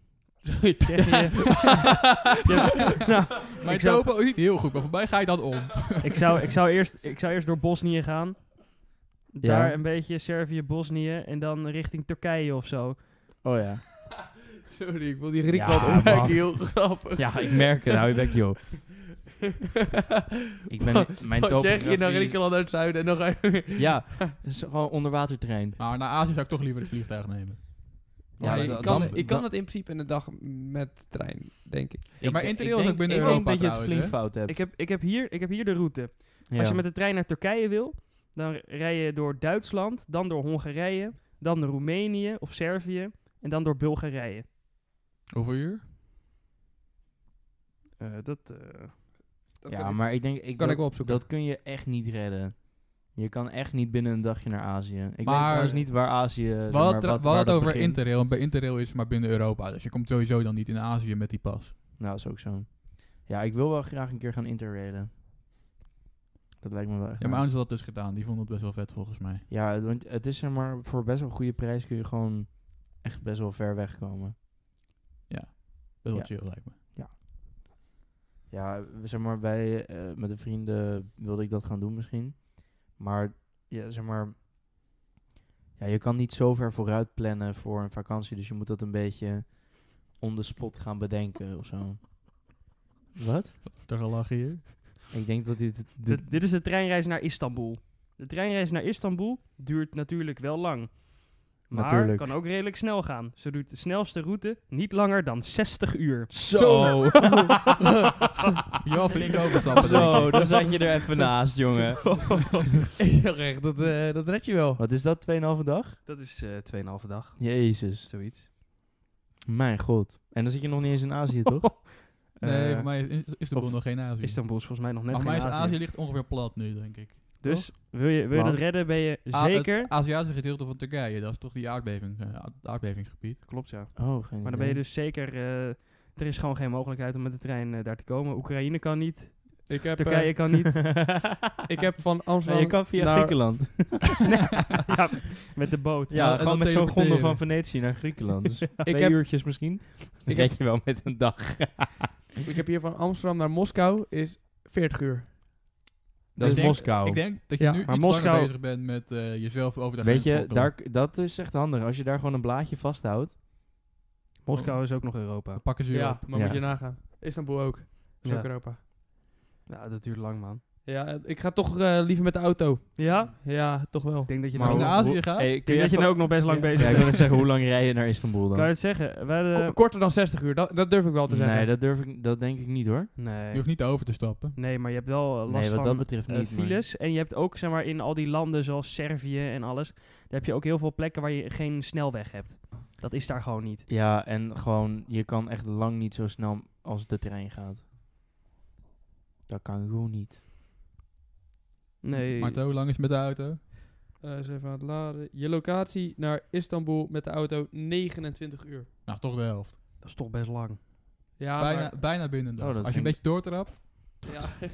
[SPEAKER 1] Tsjechië. Ja, nou,
[SPEAKER 3] Maar
[SPEAKER 1] ik,
[SPEAKER 3] het
[SPEAKER 1] zou,
[SPEAKER 3] lopen ook niet heel goed, maar voor mij ga je dat om.
[SPEAKER 1] ik, zou, ik, zou eerst, ik zou eerst door Bosnië gaan. Daar
[SPEAKER 2] Ja.
[SPEAKER 1] een beetje Servië, Bosnië en dan richting Turkije of zo.
[SPEAKER 2] Oh ja.
[SPEAKER 4] Sorry, ik wil die Griekenland
[SPEAKER 2] Ja,
[SPEAKER 4] opmerking
[SPEAKER 2] man.
[SPEAKER 4] heel grappig.
[SPEAKER 2] Ja, ik merk het. Hou je bek, joh. Ik
[SPEAKER 1] Oh,
[SPEAKER 2] ben... Mijn
[SPEAKER 4] Van
[SPEAKER 2] top.
[SPEAKER 4] Tsjechië naar nou, Griekenland naar het zuiden en dan ga je weer-
[SPEAKER 2] Ja, het is gewoon onderwatertrein.
[SPEAKER 3] Maar naar Azië zou ik toch liever het vliegtuig nemen.
[SPEAKER 4] Ja,
[SPEAKER 3] Ja,
[SPEAKER 4] ik,
[SPEAKER 3] dan-
[SPEAKER 4] kan,
[SPEAKER 3] dan-
[SPEAKER 4] ik kan het in principe in de dag met de trein, denk ik.
[SPEAKER 3] Ja, maar Interrail is
[SPEAKER 2] denk-
[SPEAKER 3] ook binnen
[SPEAKER 2] ik denk
[SPEAKER 3] Europa
[SPEAKER 2] dat je het
[SPEAKER 3] trouwens,
[SPEAKER 2] flink
[SPEAKER 3] hè?
[SPEAKER 2] fout hebt.
[SPEAKER 1] Ik heb, ik, heb hier, ik heb hier de route. Als je met de trein naar Turkije wil, dan rij je door Duitsland, dan door Hongarije, dan door Roemenië of Servië en dan door Bulgarije.
[SPEAKER 3] Hoeveel uur?
[SPEAKER 1] Eh, dat, eh,
[SPEAKER 4] Dat
[SPEAKER 2] ja,
[SPEAKER 4] kan ik-
[SPEAKER 2] maar ik denk... Ik
[SPEAKER 4] kan ik
[SPEAKER 2] dat,
[SPEAKER 4] wel opzoeken.
[SPEAKER 2] dat kun je echt niet redden. Je kan echt niet binnen een dagje naar Azië. Ik
[SPEAKER 3] Maar-
[SPEAKER 2] weet trouwens niet waar Azië... Eh, zeg
[SPEAKER 3] We
[SPEAKER 2] maar,
[SPEAKER 3] hadden het
[SPEAKER 2] wat-
[SPEAKER 3] tra- we
[SPEAKER 2] waar
[SPEAKER 3] hadden het
[SPEAKER 2] dat
[SPEAKER 3] over
[SPEAKER 2] begint.
[SPEAKER 3] Interrail. En bij Interrail is het maar binnen Europa. Dus je komt sowieso dan niet in Azië met die pas.
[SPEAKER 2] Nou, dat is ook zo. Ja, ik wil wel graag een keer gaan interrailen. Dat lijkt me wel echt
[SPEAKER 3] Ja, mijn
[SPEAKER 2] nice.
[SPEAKER 3] ouders hadden dat dus gedaan. Die vonden het best wel vet volgens mij.
[SPEAKER 2] Ja, het- want het is zeg maar... Voor best wel een goede prijs kun je gewoon echt best wel ver wegkomen.
[SPEAKER 3] Best wel
[SPEAKER 2] Ja.
[SPEAKER 3] chill lijkt me.
[SPEAKER 2] Ja, zeg maar, wij eh, met de vrienden wilde ik dat gaan doen misschien. Maar, ja, zeg maar... Ja, je kan niet zo ver vooruit plannen voor een vakantie. Dus je moet dat een beetje on the spot gaan bedenken of zo. Wat?
[SPEAKER 3] Daar gaan lachen hier.
[SPEAKER 2] Ik denk dat dit... dit
[SPEAKER 1] dit, dit is de treinreis naar Istanbul. De treinreis naar Istanbul duurt natuurlijk wel lang. Maar
[SPEAKER 2] Natuurlijk.
[SPEAKER 1] kan ook redelijk snel gaan. Ze doet de snelste route niet langer dan 60 uur.
[SPEAKER 2] Zo,
[SPEAKER 3] Ja, flink overstappen. denk
[SPEAKER 2] zo,
[SPEAKER 3] ik.
[SPEAKER 2] dan zat je er even naast, jongen.
[SPEAKER 4] Ik dacht echt, dat, eh, dat red je wel.
[SPEAKER 2] Wat is dat, 2,5 dag?
[SPEAKER 1] Dat is eh 2,5 dag,
[SPEAKER 2] Jezus,
[SPEAKER 1] zoiets.
[SPEAKER 2] mijn god. En dan zit je nog niet eens in Azië, toch?
[SPEAKER 3] Nee,
[SPEAKER 1] Eh,
[SPEAKER 3] voor mij is, is de boel
[SPEAKER 1] of
[SPEAKER 3] nog geen Azië.
[SPEAKER 1] Istanbul is volgens mij nog net
[SPEAKER 3] Maar voor mij
[SPEAKER 1] geen
[SPEAKER 3] is
[SPEAKER 1] Azië.
[SPEAKER 3] Azië ligt ongeveer plat nu, denk ik.
[SPEAKER 1] Dus wil je, wil je
[SPEAKER 2] Plat.
[SPEAKER 1] dat redden, ben je
[SPEAKER 3] A-
[SPEAKER 1] zeker...
[SPEAKER 3] Het Aziatische gedeelte van Turkije, dat is toch die aardbeving, eh, aard- aardbevingsgebied.
[SPEAKER 1] Klopt, ja.
[SPEAKER 2] Oh, geen
[SPEAKER 1] Maar dan ben je dus zeker... eh, er is gewoon geen mogelijkheid om met de trein eh, daar te komen. Oekraïne kan niet.
[SPEAKER 4] Ik heb, eh,
[SPEAKER 1] Turkije kan niet.
[SPEAKER 4] ik heb van
[SPEAKER 2] Nee,
[SPEAKER 4] Amsterdam...
[SPEAKER 2] je kan via
[SPEAKER 4] naar-
[SPEAKER 2] Griekenland.
[SPEAKER 1] ja, met de boot.
[SPEAKER 3] Ja,
[SPEAKER 2] Ja,
[SPEAKER 3] en
[SPEAKER 2] gewoon
[SPEAKER 3] dan
[SPEAKER 2] met zo'n
[SPEAKER 3] teleporteren.
[SPEAKER 2] gondel van Venetië naar Griekenland. Dus twee
[SPEAKER 4] heb-
[SPEAKER 2] uurtjes misschien. Dan
[SPEAKER 4] heb-
[SPEAKER 2] red je wel met een dag.
[SPEAKER 4] Ik heb hier van Amsterdam naar Moskou is 40 uur. Dus
[SPEAKER 2] Dat
[SPEAKER 3] Ik
[SPEAKER 2] is
[SPEAKER 3] denk-
[SPEAKER 2] Moskou.
[SPEAKER 3] Ik denk dat je
[SPEAKER 4] Oh. Ja,
[SPEAKER 3] nu iets
[SPEAKER 1] maar
[SPEAKER 3] langer
[SPEAKER 1] Moskou-
[SPEAKER 3] bezig bent met eh, jezelf over de
[SPEAKER 2] Weet
[SPEAKER 3] grens
[SPEAKER 2] je,
[SPEAKER 3] te
[SPEAKER 2] daar,
[SPEAKER 3] daar
[SPEAKER 2] k- dat is echt handig. Als je daar gewoon een blaadje vasthoudt.
[SPEAKER 1] Moskou is ook nog Europa.
[SPEAKER 3] pakken ze
[SPEAKER 4] Ja,
[SPEAKER 3] je op.
[SPEAKER 4] maar
[SPEAKER 2] Ja.
[SPEAKER 4] moet je nagaan. Istanbul ook. Is
[SPEAKER 1] Ja.
[SPEAKER 4] ook Europa.
[SPEAKER 1] Ja, dat duurt lang, man.
[SPEAKER 4] Ja, ik ga toch eh, liever met de auto.
[SPEAKER 1] Ja?
[SPEAKER 4] Ja, toch wel.
[SPEAKER 1] Ik denk dat je
[SPEAKER 3] Maar
[SPEAKER 1] nou...
[SPEAKER 3] als je naar
[SPEAKER 1] Ik
[SPEAKER 3] Azië
[SPEAKER 2] hoe-
[SPEAKER 3] gaat,
[SPEAKER 2] Hey, kun
[SPEAKER 1] denk
[SPEAKER 2] je
[SPEAKER 1] dat je
[SPEAKER 2] even-
[SPEAKER 1] nou ook nog best lang
[SPEAKER 4] Ja.
[SPEAKER 1] bezig
[SPEAKER 2] Ja, ik
[SPEAKER 1] bent.
[SPEAKER 2] wil net zeggen, hoe lang rij je naar Istanbul
[SPEAKER 1] Kan je
[SPEAKER 2] dan?
[SPEAKER 1] het zeggen? Wij de-
[SPEAKER 4] Ko- Eh, Korter dan 60 uur, dat, dat durf ik wel te zeggen.
[SPEAKER 2] Nee, dat durf ik, dat denk ik niet hoor.
[SPEAKER 3] je
[SPEAKER 1] Nee.
[SPEAKER 3] hoeft niet over te stappen.
[SPEAKER 1] Nee, maar je hebt wel eh, last
[SPEAKER 2] Nee, wat
[SPEAKER 1] van
[SPEAKER 2] dat betreft
[SPEAKER 1] eh,
[SPEAKER 2] niet. maar-
[SPEAKER 1] files. En je hebt ook, zeg maar, in al die landen zoals Servië en alles, daar heb je ook heel veel plekken waar je geen snelweg hebt. Dat is daar gewoon niet.
[SPEAKER 2] Ja, en gewoon, je kan echt lang niet zo snel als de trein gaat. Dat kan gewoon niet.
[SPEAKER 1] Nee.
[SPEAKER 3] Maar hoe lang is het met de auto?
[SPEAKER 4] Eh, eens even aan het laden. Je locatie naar Istanbul met de auto 29 uur.
[SPEAKER 3] Nou, is toch de helft.
[SPEAKER 1] Dat is toch best lang.
[SPEAKER 4] Ja,
[SPEAKER 3] bijna,
[SPEAKER 4] maar-
[SPEAKER 3] bijna binnen dan.
[SPEAKER 2] Oh, dat
[SPEAKER 3] Als je een
[SPEAKER 2] vind
[SPEAKER 3] beetje doortrapt,
[SPEAKER 4] ja.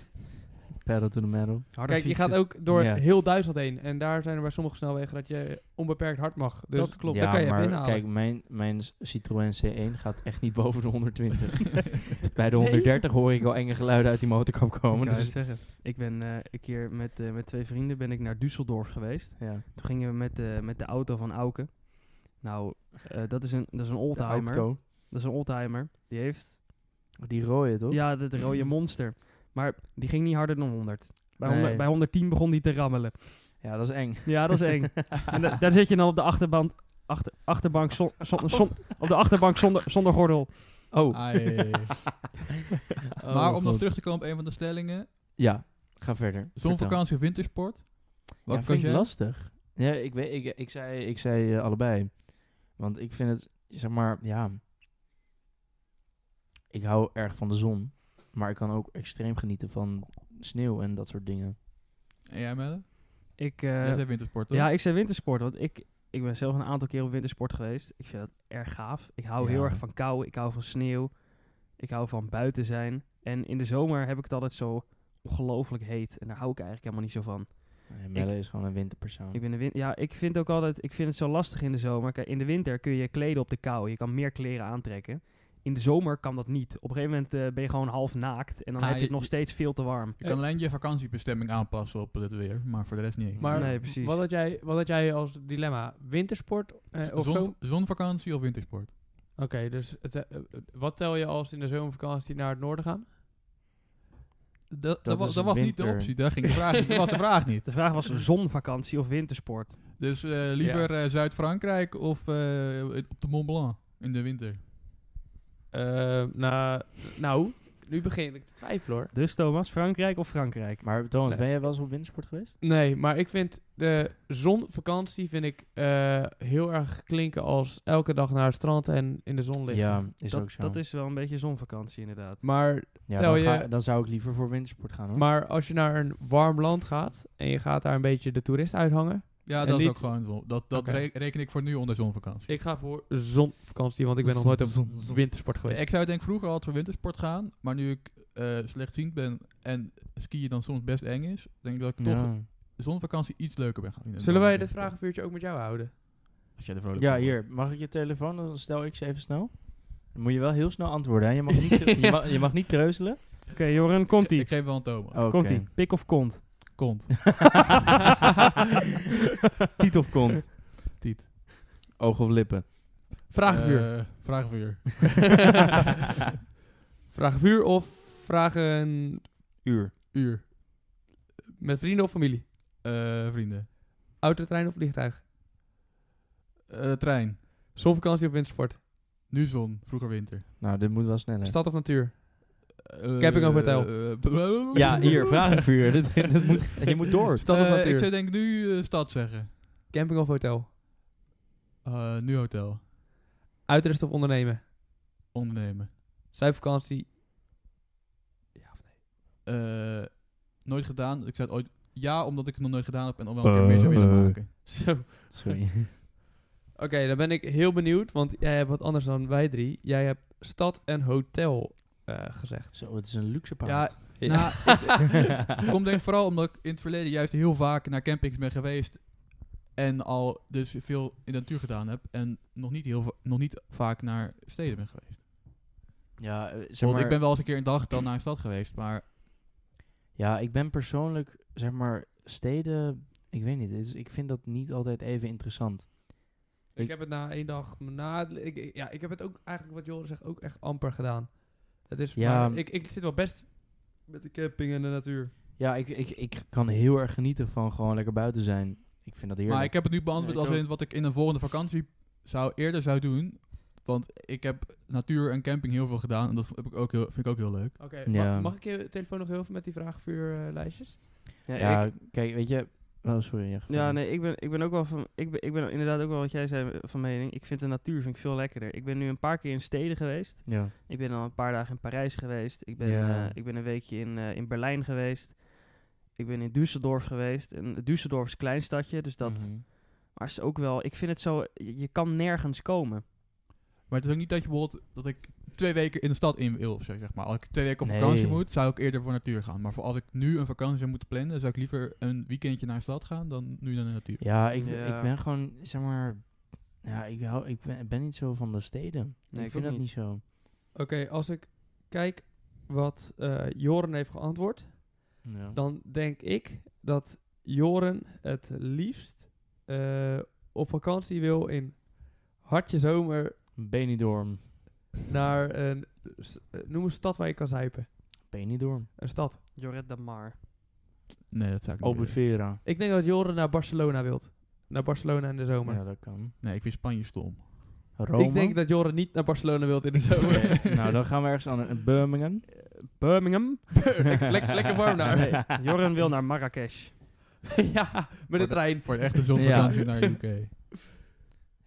[SPEAKER 2] Pedal to the metal.
[SPEAKER 1] Harder
[SPEAKER 4] Kijk, je
[SPEAKER 1] fietsen.
[SPEAKER 4] gaat ook door
[SPEAKER 2] Ja.
[SPEAKER 4] heel Duitsland heen. En daar zijn er bij sommige snelwegen dat je onbeperkt hard mag. Dus
[SPEAKER 1] Dat klopt.
[SPEAKER 2] Ja,
[SPEAKER 4] daar kan je
[SPEAKER 2] maar
[SPEAKER 4] even inhalen.
[SPEAKER 2] kijk, mijn, mijn Citroën C1 gaat echt niet boven de 120. Bij de 130 hoor ik al enge geluiden uit die motorkap komen.
[SPEAKER 1] Ik wou
[SPEAKER 2] Dus,
[SPEAKER 1] het zeggen. Ik ben eh, een keer met, eh, met twee vrienden ben ik naar Düsseldorf geweest.
[SPEAKER 2] ja.
[SPEAKER 1] Toen gingen we met, eh, met de auto van Auken. Nou, eh, dat is een, dat is een
[SPEAKER 2] De
[SPEAKER 1] oldtimer.
[SPEAKER 2] Auto.
[SPEAKER 1] Dat is een oldtimer. Die heeft
[SPEAKER 2] Die rode, toch?
[SPEAKER 1] Ja, dat rode monster. Maar die ging niet harder dan 100. Bij,
[SPEAKER 2] Nee.
[SPEAKER 1] 100, bij 110 begon die te rammelen.
[SPEAKER 2] Ja, dat is eng.
[SPEAKER 1] Ja, dat is eng. en da- daar zit je dan op de achterband, achter, achterbank zon, zon, zon- Ah, op de achterbank zonder, zonder gordel.
[SPEAKER 2] Oh.
[SPEAKER 3] ai.
[SPEAKER 2] Oh,
[SPEAKER 3] maar om nog
[SPEAKER 2] God.
[SPEAKER 3] terug te komen op een van de stellingen.
[SPEAKER 2] Ja, ga verder. Vertel.
[SPEAKER 3] Zonvakantie of wintersport? Wat
[SPEAKER 2] ja,
[SPEAKER 3] kan
[SPEAKER 2] vind ik
[SPEAKER 3] je?
[SPEAKER 2] lastig. Ja, ik, weet, ik, ik zei, ik zei eh, allebei. Want ik vind het, zeg maar, ja... Ik hou erg van de zon. Maar ik kan ook extreem genieten van sneeuw en dat soort dingen.
[SPEAKER 3] En jij Melle?
[SPEAKER 1] Ik, eh,
[SPEAKER 3] jij zei wintersport toch?
[SPEAKER 1] ja, ik zei wintersport, want ik, ik ben zelf een aantal keer op wintersport geweest. Ik vind dat erg gaaf. Ik hou
[SPEAKER 2] Ja.
[SPEAKER 1] heel erg van kou, ik hou van sneeuw, ik hou van buiten zijn. En in de zomer heb ik het altijd zo ongelooflijk heet. En daar hou ik eigenlijk helemaal niet zo van.
[SPEAKER 2] Nee, Eh, Melle is gewoon een winterpersoon.
[SPEAKER 1] Ik ben de win- ja, ik vind ook altijd, ik vind het zo lastig in de zomer. Kijk, in de winter kun je kleden op de kou. Je kan meer kleren aantrekken. In de zomer kan dat niet. Op een gegeven moment eh, ben je gewoon half naakt en dan
[SPEAKER 3] Ah,
[SPEAKER 1] heb je het
[SPEAKER 3] je-
[SPEAKER 1] nog steeds veel te warm.
[SPEAKER 3] Je kan alleen je vakantiebestemming aanpassen op het weer, maar voor de rest niet.
[SPEAKER 4] maar
[SPEAKER 1] Nee, precies.
[SPEAKER 4] Wat, had jij, wat had jij als dilemma? Wintersport eh, of
[SPEAKER 3] Zon-
[SPEAKER 4] zo? Oké,
[SPEAKER 3] zonvakantie of wintersport?
[SPEAKER 4] dus het, eh, eh, wat tel je als in de zomervakantie naar het noorden gaan?
[SPEAKER 3] Dat, dat, wa-
[SPEAKER 2] is
[SPEAKER 3] dat was niet de
[SPEAKER 2] winter.
[SPEAKER 3] optie, daar ging de vraag niet. Dat was de vraag niet.
[SPEAKER 1] De vraag was zonvakantie of wintersport.
[SPEAKER 3] Dus eh, liever eh, Zuid-Frankrijk of eh, op de Mont Blanc in de winter?
[SPEAKER 4] Eh, nou, nou, nu begin ik te twijfelen hoor.
[SPEAKER 1] Dus Thomas, Frankrijk of Frankrijk?
[SPEAKER 2] Maar Thomas,
[SPEAKER 4] Nee.
[SPEAKER 2] ben jij wel eens op wintersport geweest?
[SPEAKER 4] Nee, maar ik vind de zonvakantie vind ik eh, heel erg klinken als elke dag naar het strand en in de zon liggen.
[SPEAKER 2] Ja, is
[SPEAKER 1] dat,
[SPEAKER 2] ook zo.
[SPEAKER 1] dat is wel een beetje zonvakantie inderdaad.
[SPEAKER 4] Maar,
[SPEAKER 2] ja,
[SPEAKER 4] Tel
[SPEAKER 2] dan,
[SPEAKER 4] je-
[SPEAKER 2] ga- dan zou ik liever voor wintersport gaan hoor.
[SPEAKER 4] maar als je naar een warm land gaat en je gaat daar een beetje de toerist uithangen.
[SPEAKER 3] Ja,
[SPEAKER 4] En
[SPEAKER 3] dat
[SPEAKER 4] niet-
[SPEAKER 3] is ook gewoon zon. Dat, dat
[SPEAKER 4] Oké.
[SPEAKER 3] re- reken ik voor nu onder zonvakantie.
[SPEAKER 4] Ik ga voor zonvakantie, want ik ben nog nooit op
[SPEAKER 2] Zon, zon.
[SPEAKER 4] wintersport geweest.
[SPEAKER 3] Ik zou denk ik vroeger altijd voor wintersport gaan, maar nu ik eh slechtziend ben en skiën dan soms best eng is, denk ik dat ik toch
[SPEAKER 2] Ja.
[SPEAKER 3] zonvakantie iets leuker ben gaan vinden.
[SPEAKER 4] Zullen
[SPEAKER 3] dan
[SPEAKER 4] wij dit
[SPEAKER 3] wintersport.
[SPEAKER 4] vragenvuurtje ook met jou houden?
[SPEAKER 3] Als jij er vrolijk
[SPEAKER 2] Ja,
[SPEAKER 3] van wordt.
[SPEAKER 2] hier. Mag ik je telefoon? Dan stel ik ze even snel. Dan moet je wel heel snel antwoorden. Hè? Je, mag niet, je, mag, je mag niet treuzelen.
[SPEAKER 1] Oké, Joren, komt
[SPEAKER 3] Ik,
[SPEAKER 1] ie.
[SPEAKER 3] ik geef wel aan Thomas.
[SPEAKER 2] Oké.
[SPEAKER 1] Komt ie. Pik of kont?
[SPEAKER 3] Kont.
[SPEAKER 2] Tiet of kont?
[SPEAKER 3] Tiet.
[SPEAKER 2] Oog of lippen?
[SPEAKER 4] Vragenvuur.
[SPEAKER 3] Eh, vragenvuur.
[SPEAKER 4] vragenvuur of vragen
[SPEAKER 2] Uur.
[SPEAKER 3] Uur.
[SPEAKER 4] met vrienden of familie?
[SPEAKER 3] Eh, vrienden.
[SPEAKER 4] Autotrein of vliegtuig?
[SPEAKER 3] Eh, trein.
[SPEAKER 4] Zonvakantie of wintersport?
[SPEAKER 3] Nu zon, vroeger winter.
[SPEAKER 2] Nou, dit moet wel sneller.
[SPEAKER 4] Stad of natuur?
[SPEAKER 3] Eh,
[SPEAKER 4] Camping of hotel?
[SPEAKER 3] eh,
[SPEAKER 2] ja, hier, vragenvuur. dit, dit moet, je moet door.
[SPEAKER 4] Stad of
[SPEAKER 3] Eh,
[SPEAKER 4] natuur?
[SPEAKER 3] ik zou denk ik nu eh, stad zeggen.
[SPEAKER 4] Camping of hotel?
[SPEAKER 3] Eh, nu hotel.
[SPEAKER 4] Uitrust of ondernemen?
[SPEAKER 3] Ondernemen.
[SPEAKER 4] Zuidvakantie? Ja of nee?
[SPEAKER 3] Eh, nooit gedaan. Ik zei het ooit ja, omdat ik het nog nooit gedaan heb en al wel een keer meer zou willen
[SPEAKER 2] Eh.
[SPEAKER 3] maken.
[SPEAKER 4] Zo.
[SPEAKER 2] Sorry.
[SPEAKER 4] Oké, dan ben ik heel benieuwd, want jij hebt wat anders dan wij drie. Jij hebt stad en hotel eh, gezegd.
[SPEAKER 2] Zo, het is een luxe paard.
[SPEAKER 3] Ja, Nou, ik- komt denk ik vooral omdat ik in het verleden juist heel vaak naar campings ben geweest. En al dus veel in de natuur gedaan heb. En nog niet, heel va- nog niet vaak naar steden ben geweest.
[SPEAKER 2] Ja, eh, zeg
[SPEAKER 3] Want
[SPEAKER 2] maar,
[SPEAKER 3] ik ben wel eens een keer een dag dan naar een stad geweest. Maar
[SPEAKER 2] ja, ik ben persoonlijk, zeg maar, steden... Ik weet niet, het is- ik vind dat niet altijd even interessant.
[SPEAKER 4] Ik,
[SPEAKER 2] Ik-
[SPEAKER 4] heb het na één dag, na, ik, ik- ja, ik heb het ook eigenlijk wat Joris zegt, ook echt amper gedaan. Het is,
[SPEAKER 2] Ja.
[SPEAKER 4] maar, ik, ik zit wel best met de camping en de natuur.
[SPEAKER 2] Ja, ik, ik, ik kan heel erg genieten van gewoon lekker buiten zijn. Ik vind dat heerlijk.
[SPEAKER 3] Maar ik heb het nu beantwoord
[SPEAKER 4] Nee, ik
[SPEAKER 3] als in wat ik in een volgende vakantie zou eerder zou doen. Want ik heb natuur en camping heel veel gedaan. En dat heb ik ook heel, vind ik ook heel leuk.
[SPEAKER 4] Oké,
[SPEAKER 2] Ja.
[SPEAKER 4] mag, ik je telefoon nog heel even met die vraagvuurlijstjes?
[SPEAKER 1] Ja,
[SPEAKER 2] ja,
[SPEAKER 1] ik-
[SPEAKER 2] kijk, weet je... Oh, sorry. Ja,
[SPEAKER 1] Ja, nee, ik ben, ik ben ook wel van. Ik ben, ik ben inderdaad ook wel wat jij zei eh, van mening. Ik vind de natuur vind ik veel lekkerder. Ik ben nu een paar keer in steden geweest.
[SPEAKER 2] Ja.
[SPEAKER 1] Ik ben al een paar dagen in Parijs geweest. Ik ben,
[SPEAKER 2] Ja.
[SPEAKER 1] eh, ik ben een weekje in, eh, in Berlijn geweest. Ik ben in Düsseldorf geweest. En Düsseldorf is een klein stadje, dus dat.
[SPEAKER 2] Mhm.
[SPEAKER 1] Maar het is ook wel. Ik vind het zo. Je, je kan nergens komen.
[SPEAKER 3] Maar het is ook niet dat je bijvoorbeeld dat ik twee weken in de stad in wil of zo, zeg maar. Als ik twee weken op
[SPEAKER 2] Nee.
[SPEAKER 3] vakantie moet, zou ik eerder voor natuur gaan. Maar voor als ik nu een vakantie zou moeten plannen, zou ik liever een weekendje naar de stad gaan dan nu naar de natuur.
[SPEAKER 2] Ja, ik,
[SPEAKER 1] Ja.
[SPEAKER 2] ik ben gewoon, zeg maar... Ja, ik, hou, ik ben, ben niet zo van de steden.
[SPEAKER 1] Nee,
[SPEAKER 2] ik vind
[SPEAKER 1] ook
[SPEAKER 2] dat niet zo.
[SPEAKER 4] Oké, als ik kijk wat eh, Joren heeft geantwoord,
[SPEAKER 2] Ja.
[SPEAKER 4] dan denk ik dat Joren het liefst eh, op vakantie wil in hartje zomer
[SPEAKER 2] Benidorm.
[SPEAKER 4] naar een, s- eh, noem een stad waar je kan zuipen.
[SPEAKER 2] Benidorm.
[SPEAKER 4] Een stad.
[SPEAKER 1] Joret de Mar.
[SPEAKER 3] Nee, dat zou ik niet willen.
[SPEAKER 2] Albufeira.
[SPEAKER 4] Ik denk dat Joren naar Barcelona wilt. Naar Barcelona in de zomer.
[SPEAKER 2] Ja, dat kan.
[SPEAKER 3] Nee, ik vind Spanje stom.
[SPEAKER 2] Rome.
[SPEAKER 4] Ik denk dat Joren niet naar Barcelona wilt in de zomer.
[SPEAKER 2] Nee, nou, dan gaan we ergens aan. Birmingham.
[SPEAKER 1] Birmingham.
[SPEAKER 4] lekker, lekker- lekker warm daar.
[SPEAKER 1] Nee, Joren wil naar Marrakesh.
[SPEAKER 4] ja, met de trein.
[SPEAKER 3] Voor de echte zonvakantie naar de UK.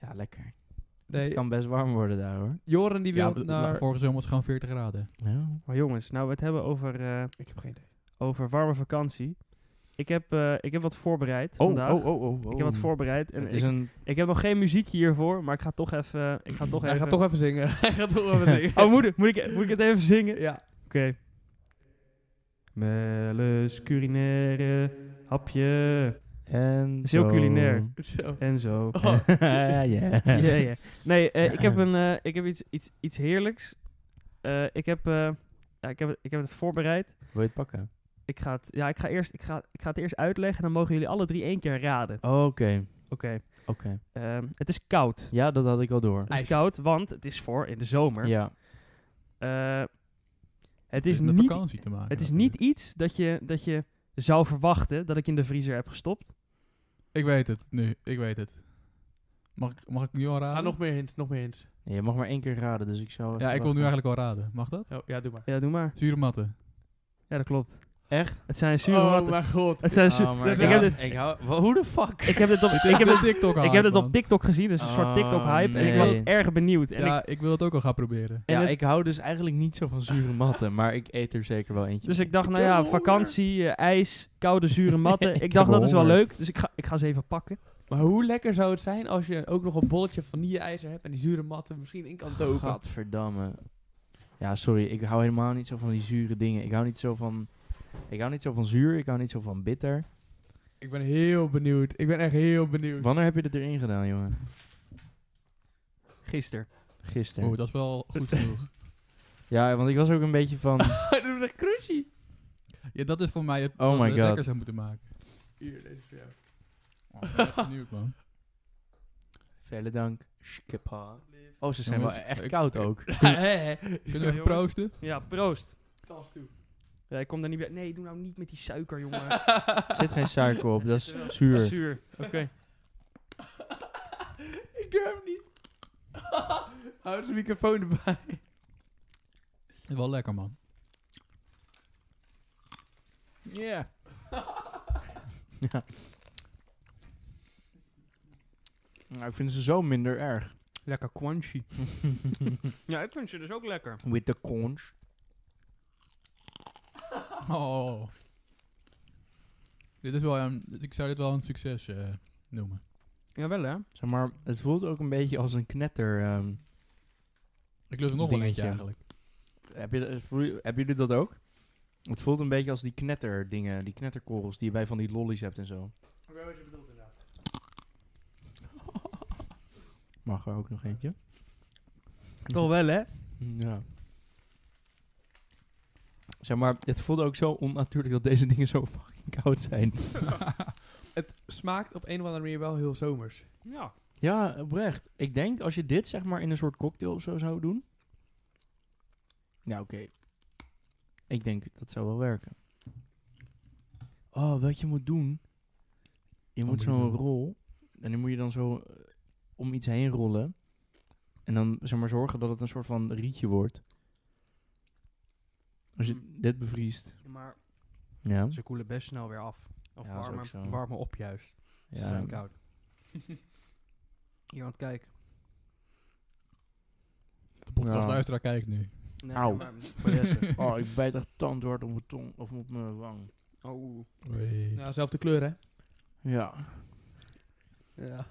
[SPEAKER 2] Ja, lekker. Het
[SPEAKER 4] Nee,
[SPEAKER 2] kan best warm worden daar hoor. Oh,
[SPEAKER 4] Joren die
[SPEAKER 3] Ja,
[SPEAKER 4] wil
[SPEAKER 3] maar
[SPEAKER 4] naar...
[SPEAKER 3] vorige zomer was het gewoon 40 graden.
[SPEAKER 2] Ja.
[SPEAKER 1] Maar jongens, nou we het hebben over, eh,
[SPEAKER 4] Ik heb geen idee.
[SPEAKER 1] over warme vakantie. Ik heb, eh, ik heb wat voorbereid vandaag.
[SPEAKER 2] oh, oh,
[SPEAKER 1] Ik heb wat voorbereid. En
[SPEAKER 2] Het is
[SPEAKER 1] ik,
[SPEAKER 2] een.
[SPEAKER 1] ik heb nog geen muziekje hiervoor, maar ik ga toch even... Ik ga toch
[SPEAKER 4] Hij
[SPEAKER 1] even...
[SPEAKER 4] gaat toch even zingen. Hij gaat toch even zingen.
[SPEAKER 1] Oh, moet, ik- moet, ik, moet ik het even zingen? Oké.
[SPEAKER 4] ja.
[SPEAKER 1] Melles culinaire hapje
[SPEAKER 2] En
[SPEAKER 1] is heel
[SPEAKER 2] zo.
[SPEAKER 1] culinair.
[SPEAKER 4] Zo.
[SPEAKER 1] en zo.
[SPEAKER 4] Oh.
[SPEAKER 2] ja.
[SPEAKER 1] Ja, ja. Nee, eh, ik heb, een, eh, ik heb iets, iets, iets heerlijks. Eh, ik, heb, eh, ja, ik, heb, ik heb het voorbereid.
[SPEAKER 2] Wil je het pakken?
[SPEAKER 1] Ik ga het, ja, ik ga, eerst, ik, ga, ik ga het eerst uitleggen en dan mogen jullie alle drie één keer raden.
[SPEAKER 2] Oké, oké.
[SPEAKER 1] Oké. Ehm, het is koud.
[SPEAKER 2] Ja, dat had ik al door.
[SPEAKER 1] Het is
[SPEAKER 4] Ijs.
[SPEAKER 1] koud, want het is voor in de zomer.
[SPEAKER 2] Ja.
[SPEAKER 1] Eh, het,
[SPEAKER 3] Het
[SPEAKER 1] is
[SPEAKER 3] is met
[SPEAKER 1] niet,
[SPEAKER 3] vakantie te maken.
[SPEAKER 1] het is
[SPEAKER 3] natuurlijk.
[SPEAKER 1] niet iets dat je, dat je zou verwachten dat ik in de vriezer heb gestopt.
[SPEAKER 3] Ik weet het nu. Ik weet het. Mag ik, mag ik nu al raden?
[SPEAKER 4] Ga nog meer hints, nog meer hints.
[SPEAKER 2] Nee, je mag maar één keer raden, dus ik zou.
[SPEAKER 3] ja,
[SPEAKER 2] even
[SPEAKER 3] ik wil nu
[SPEAKER 2] wachten.
[SPEAKER 3] eigenlijk al raden. Mag dat?
[SPEAKER 4] Oh, ja, doe maar.
[SPEAKER 1] Ja, doe maar.
[SPEAKER 3] Zure matten.
[SPEAKER 1] Ja, dat klopt.
[SPEAKER 2] Echt?
[SPEAKER 1] Het zijn zure ratten.
[SPEAKER 4] Oh mijn god.
[SPEAKER 1] Het zijn zu-
[SPEAKER 2] Oh, maar
[SPEAKER 1] Ah, ik,
[SPEAKER 2] ja,
[SPEAKER 1] heb dit,
[SPEAKER 2] ik hou. wa- Hoe de fuck?
[SPEAKER 1] ik heb dit op, ik heb
[SPEAKER 3] de
[SPEAKER 1] dit,
[SPEAKER 3] TikTok
[SPEAKER 1] ik heb dit op TikTok gezien, dus een soort
[SPEAKER 2] Oh,
[SPEAKER 1] TikTok-hype. En ik was
[SPEAKER 2] nee.
[SPEAKER 1] erg benieuwd. En ik,
[SPEAKER 3] Ja, ik wil het ook al gaan proberen.
[SPEAKER 1] en
[SPEAKER 2] ja,
[SPEAKER 1] het-
[SPEAKER 2] ik hou dus eigenlijk niet zo van zure matten, maar ik eet er zeker wel eentje.
[SPEAKER 1] dus ik dacht, nou
[SPEAKER 4] heb
[SPEAKER 1] ja,
[SPEAKER 4] honger.
[SPEAKER 1] vakantie, eh, ijs, koude zure matten.
[SPEAKER 2] Ik
[SPEAKER 1] ik,
[SPEAKER 2] heb
[SPEAKER 1] dacht, dat is wel
[SPEAKER 2] honger.
[SPEAKER 1] leuk, dus ik ga, ik ga ze even pakken.
[SPEAKER 4] Maar hoe lekker zou het zijn als je ook nog een bolletje vanille-ijzer hebt en die zure matten misschien in
[SPEAKER 1] Dus
[SPEAKER 4] kan dopen?
[SPEAKER 2] Gadverdamme. Ja, sorry, ik hou helemaal niet zo van die zure dingen. Ik hou niet zo van. Ik hou niet zo van zuur, ik hou niet zo van bitter.
[SPEAKER 4] Ik ben heel benieuwd. Ik ben echt heel benieuwd.
[SPEAKER 2] Wanneer heb je dit erin gedaan, jongen?
[SPEAKER 1] Gisteren.
[SPEAKER 2] Gisteren.
[SPEAKER 3] Oeh, dat is wel goed genoeg.
[SPEAKER 2] Ja, want ik was ook een beetje van.
[SPEAKER 4] dat is echt crunchy.
[SPEAKER 3] Ja, dat is voor mij het
[SPEAKER 2] Oh
[SPEAKER 3] wat
[SPEAKER 2] my
[SPEAKER 3] we
[SPEAKER 2] God.
[SPEAKER 3] lekker zou moeten maken.
[SPEAKER 4] Hier, deze is voor jou.
[SPEAKER 3] Oh, ik ben echt benieuwd, man.
[SPEAKER 2] Vele dank, Schipper. Oh, ze zijn
[SPEAKER 3] Jongens,
[SPEAKER 2] wel echt
[SPEAKER 3] ik-
[SPEAKER 2] koud ook.
[SPEAKER 3] Kunnen we even proosten?
[SPEAKER 1] Ja, proost.
[SPEAKER 4] Tas toe.
[SPEAKER 1] Ja, ik kom daar niet bij. Nee, doe nou niet met die suiker, jongen.
[SPEAKER 2] Er zit geen suiker op,
[SPEAKER 1] Er
[SPEAKER 2] dat
[SPEAKER 1] zit
[SPEAKER 2] is
[SPEAKER 1] er wel-
[SPEAKER 2] zuur.
[SPEAKER 1] Zuur, oké.
[SPEAKER 4] ik durf niet. Hou dus de microfoon erbij.
[SPEAKER 3] Is wel lekker, man.
[SPEAKER 4] Ja.
[SPEAKER 2] Nou, ik vind ze zo minder erg.
[SPEAKER 4] Lekker crunchy.
[SPEAKER 1] Ja, ik vind ze dus ook lekker.
[SPEAKER 2] With the conch.
[SPEAKER 3] Oh. Dit is wel een, ik zou dit wel een succes eh, noemen.
[SPEAKER 4] Jawel, hè?
[SPEAKER 2] Zeg maar, het voelt ook een beetje als een knetter. ehm.
[SPEAKER 3] Ik lust er nog wel eentje
[SPEAKER 2] Dingetje.
[SPEAKER 3] eigenlijk.
[SPEAKER 2] heb, je, eh, voel- hebben jullie dat ook? Het voelt een beetje als die knetter dingen, die knetterkorrels die je bij van die lollies hebt en zo. Mag er ook nog eentje?
[SPEAKER 1] Toch wel, hè?
[SPEAKER 2] Ja. Zeg maar, het voelt ook zo onnatuurlijk dat deze dingen zo fucking koud zijn.
[SPEAKER 4] Het smaakt op een of andere manier wel heel zomers.
[SPEAKER 1] Ja.
[SPEAKER 2] Ja, oprecht. Ik denk als je dit zeg maar in een soort cocktail of zo zou doen. Ja, oké. Ik denk dat zou wel werken. Oh, wat je moet doen. Je moet
[SPEAKER 3] moet je
[SPEAKER 2] zo'n
[SPEAKER 3] doen?
[SPEAKER 2] rol. En die moet je dan zo eh, om iets heen rollen. En dan zeg maar zorgen dat het een soort van rietje wordt. Als je
[SPEAKER 1] Hmm.
[SPEAKER 2] dit bevriest.
[SPEAKER 1] Maar
[SPEAKER 2] Ja.
[SPEAKER 1] ze koelen best snel weer af. Of
[SPEAKER 2] Ja, dat is ook zo.
[SPEAKER 1] warmen, warmen op juist. Ze zijn koud. Hier, want kijk.
[SPEAKER 3] De podcastluisteraar kijkt nu.
[SPEAKER 1] Nee,
[SPEAKER 2] Auw.
[SPEAKER 1] maar- voor Jesse.
[SPEAKER 2] Oh, ik bijt echt tandhard op mijn tong of op mijn wang.
[SPEAKER 1] Oh.
[SPEAKER 3] Oei.
[SPEAKER 4] Ja, zelfde kleur, hè?
[SPEAKER 2] Ja.
[SPEAKER 4] Ja.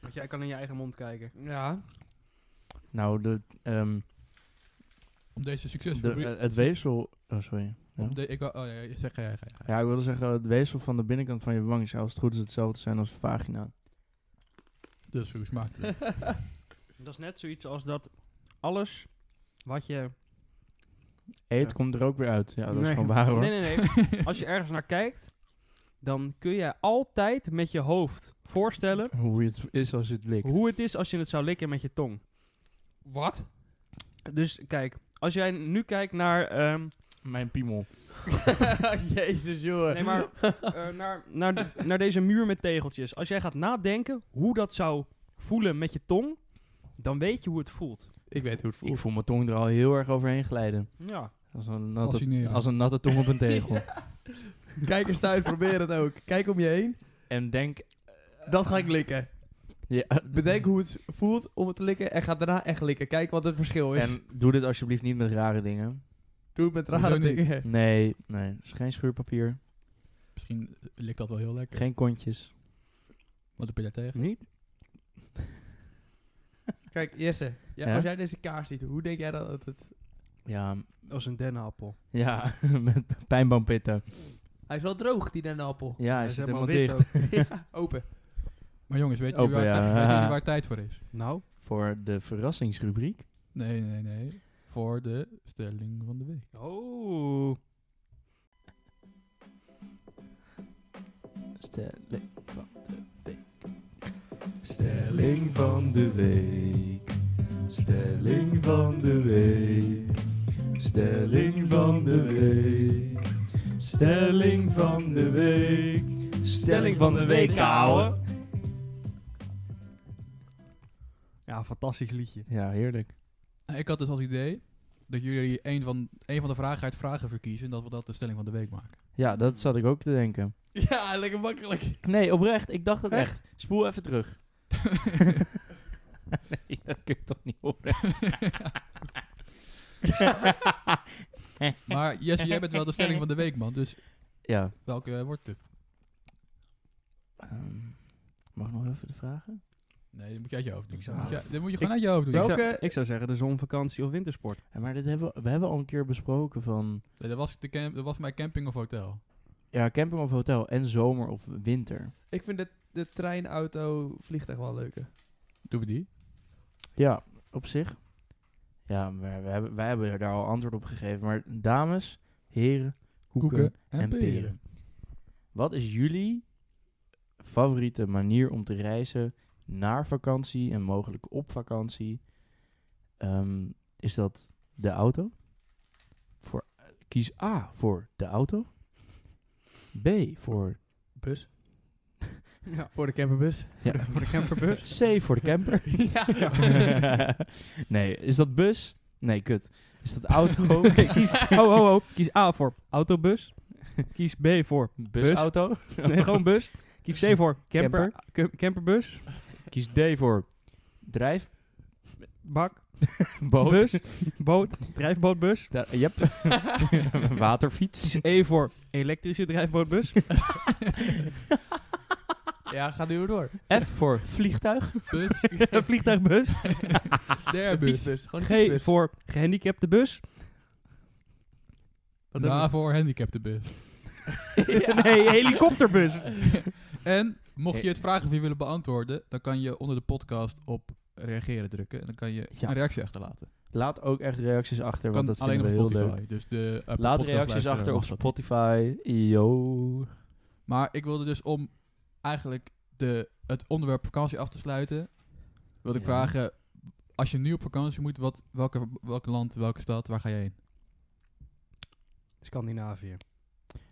[SPEAKER 1] Want jij kan in je eigen mond kijken.
[SPEAKER 4] Ja.
[SPEAKER 2] Nou, de, ehm,
[SPEAKER 3] Om deze succes...
[SPEAKER 2] de, eh, het weefsel... Oh, sorry. Ja.
[SPEAKER 3] om de, ik, wou- oh ja, ja, zeg ga jij, ga jij, ga jij.
[SPEAKER 2] Ja, ik wilde zeggen, het weefsel van de binnenkant van je wang zou als het goed is hetzelfde zijn als vagina.
[SPEAKER 3] Dus hoe smaakt het?
[SPEAKER 1] Dat is net zoiets als dat alles wat je...
[SPEAKER 2] Eet
[SPEAKER 1] Ja.
[SPEAKER 2] komt er ook weer uit. Ja, dat is
[SPEAKER 1] Nee.
[SPEAKER 2] gewoon waar hoor.
[SPEAKER 1] Nee, nee, nee. als je ergens naar kijkt, dan kun je altijd met je hoofd voorstellen
[SPEAKER 2] Hoe het is als je het likt.
[SPEAKER 1] hoe het is als je het zou likken met je tong.
[SPEAKER 4] Wat?
[SPEAKER 1] Dus kijk, als jij nu kijkt naar, ehm,
[SPEAKER 2] Mijn piemel.
[SPEAKER 4] Jezus, joh.
[SPEAKER 1] nee, maar, eh, naar, naar, d- naar deze muur met tegeltjes. Als jij gaat nadenken hoe dat zou voelen met je tong, dan weet je hoe het voelt.
[SPEAKER 4] Ik weet hoe het
[SPEAKER 2] Ik
[SPEAKER 4] voelt.
[SPEAKER 2] voel mijn tong er al heel erg overheen glijden.
[SPEAKER 1] Ja.
[SPEAKER 2] Als een natte,
[SPEAKER 3] Fascinerend.
[SPEAKER 2] als een natte tong op een tegel.
[SPEAKER 4] Kijk eens thuis, probeer het ook. Kijk om je heen.
[SPEAKER 2] En denk...
[SPEAKER 4] Dat ga ik likken.
[SPEAKER 2] Ja,
[SPEAKER 4] Bedenk hoe het voelt om het te likken en ga daarna echt likken. Kijk wat het verschil is.
[SPEAKER 2] en doe dit alsjeblieft niet met rare dingen.
[SPEAKER 4] doe het met
[SPEAKER 3] Hoezo
[SPEAKER 4] rare
[SPEAKER 3] niet?
[SPEAKER 4] dingen.
[SPEAKER 2] Nee, nee. Het is geen schuurpapier.
[SPEAKER 3] Misschien likt dat wel heel lekker.
[SPEAKER 2] Geen kontjes.
[SPEAKER 3] Wat heb je daar tegen?
[SPEAKER 2] Niet?
[SPEAKER 4] Kijk, Jesse, ja,
[SPEAKER 2] Ja?
[SPEAKER 4] als jij deze kaars ziet, hoe denk jij dat het... het-
[SPEAKER 2] Ja,
[SPEAKER 1] Dat is een dennenappel.
[SPEAKER 2] ja met pijnboompitten.
[SPEAKER 4] Hij is wel droog, die dennenappel.
[SPEAKER 2] Ja, hij
[SPEAKER 1] is
[SPEAKER 2] zit helemaal
[SPEAKER 1] helemaal wit
[SPEAKER 2] dicht.
[SPEAKER 4] Ja, open.
[SPEAKER 3] Maar jongens, weet je
[SPEAKER 2] Open,
[SPEAKER 3] waar,
[SPEAKER 2] ja.
[SPEAKER 3] tijd- weten jullie waar tijd voor is?
[SPEAKER 1] Nou,
[SPEAKER 2] Voor de verrassingsrubriek.
[SPEAKER 3] Nee, nee, nee. Voor de stelling van de week.
[SPEAKER 1] oh.
[SPEAKER 2] Stelling van de week. Stelling van de week. Stelling van de week. Stelling van de week. Stelling van de week. Stelling van de week, ouwe.
[SPEAKER 1] Ja, fantastisch liedje.
[SPEAKER 2] Ja, heerlijk.
[SPEAKER 3] Nou, Ik had dus als idee dat jullie een van, een van de vragen uit vragen verkiezen en dat we dat de stelling van de week maken.
[SPEAKER 2] Ja, dat zat ik ook te denken.
[SPEAKER 4] Ja, lekker makkelijk.
[SPEAKER 2] Nee, oprecht. Ik dacht het echt. Spoel even terug. nee, dat kun je toch niet oprecht.
[SPEAKER 3] Maar Jesse, jij bent wel de stelling van de week, man. Dus
[SPEAKER 2] ja.
[SPEAKER 3] welke eh, wordt het?
[SPEAKER 2] Ehm, mag ik nog even de vragen?
[SPEAKER 3] Nee, dat moet je uit je hoofd doen.
[SPEAKER 2] Ik zou-
[SPEAKER 3] Moet je- dit moet je gewoon uit je hoofd doen.
[SPEAKER 1] Ik
[SPEAKER 3] Nee,
[SPEAKER 1] zou, ik zou zeggen de zonvakantie of wintersport.
[SPEAKER 2] Ja, maar dit hebben we, we hebben al een keer besproken van...
[SPEAKER 3] dat, was de camp, dat was mijn camping of hotel.
[SPEAKER 2] Ja, camping of hotel en zomer of winter.
[SPEAKER 4] Ik vind de, de trein, auto, vliegtuig wel leuker.
[SPEAKER 3] Doen we die?
[SPEAKER 2] Ja, op zich. Ja, maar we hebben, wij hebben daar al antwoord op gegeven. Maar dames, heren, koeken, en, peren. Wat is jullie favoriete manier om te reizen naar vakantie en mogelijk op vakantie? Ehm, is dat de auto? Voor, kies A voor de auto. B voor
[SPEAKER 4] Bus.
[SPEAKER 2] Ja.
[SPEAKER 4] Voor de camperbus.
[SPEAKER 2] Ja.
[SPEAKER 4] Voor de camperbus.
[SPEAKER 2] C voor de camper.
[SPEAKER 4] ja.
[SPEAKER 2] nee, is dat bus? Nee, kut. Is dat auto?
[SPEAKER 1] Oké, kies, ho, ho, ho. Kies A voor autobus. Kies B voor...
[SPEAKER 2] Busauto?
[SPEAKER 1] Nee, gewoon bus. Kies C voor camper. Cam- camperbus.
[SPEAKER 2] Kies D voor drijf.
[SPEAKER 1] Bak.
[SPEAKER 2] Boot.
[SPEAKER 1] Bus. Boot. Drijfbootbus.
[SPEAKER 2] Da- yep. Waterfiets.
[SPEAKER 1] Kies E voor elektrische drijfbootbus.
[SPEAKER 4] ja, ga nu weer door.
[SPEAKER 2] F voor vliegtuig.
[SPEAKER 3] Bus,
[SPEAKER 1] eh, Vliegtuigbus.
[SPEAKER 3] derbus.
[SPEAKER 4] Gewoon een
[SPEAKER 1] G
[SPEAKER 4] fietsbus.
[SPEAKER 1] voor gehandicapte bus. Wat hebben we?
[SPEAKER 3] Ja, voor handicaptenbus.
[SPEAKER 1] nee, helikopterbus.
[SPEAKER 3] En mocht je het vragenvier willen beantwoorden, dan kan je onder de podcast op reageren drukken. En dan kan je
[SPEAKER 2] Ja.
[SPEAKER 3] een reactie achterlaten.
[SPEAKER 2] Laat ook echt reacties achter,
[SPEAKER 3] Kan
[SPEAKER 2] want dat
[SPEAKER 3] alleen
[SPEAKER 2] vinden
[SPEAKER 3] op
[SPEAKER 2] we heel
[SPEAKER 3] Spotify.
[SPEAKER 2] leuk.
[SPEAKER 3] Dus de Apple
[SPEAKER 2] Laat
[SPEAKER 3] Podcast
[SPEAKER 2] reacties
[SPEAKER 3] luisteraar
[SPEAKER 2] achter
[SPEAKER 3] mag
[SPEAKER 2] op eh,
[SPEAKER 3] dat.
[SPEAKER 2] Spotify. Yo.
[SPEAKER 3] Maar ik wilde dus om eigenlijk de, het onderwerp vakantie af te sluiten, wilde ik
[SPEAKER 2] Ja.
[SPEAKER 3] vragen, als je nu op vakantie moet, wat, welke, welk land, welke stad, waar ga je heen?
[SPEAKER 6] Scandinavië.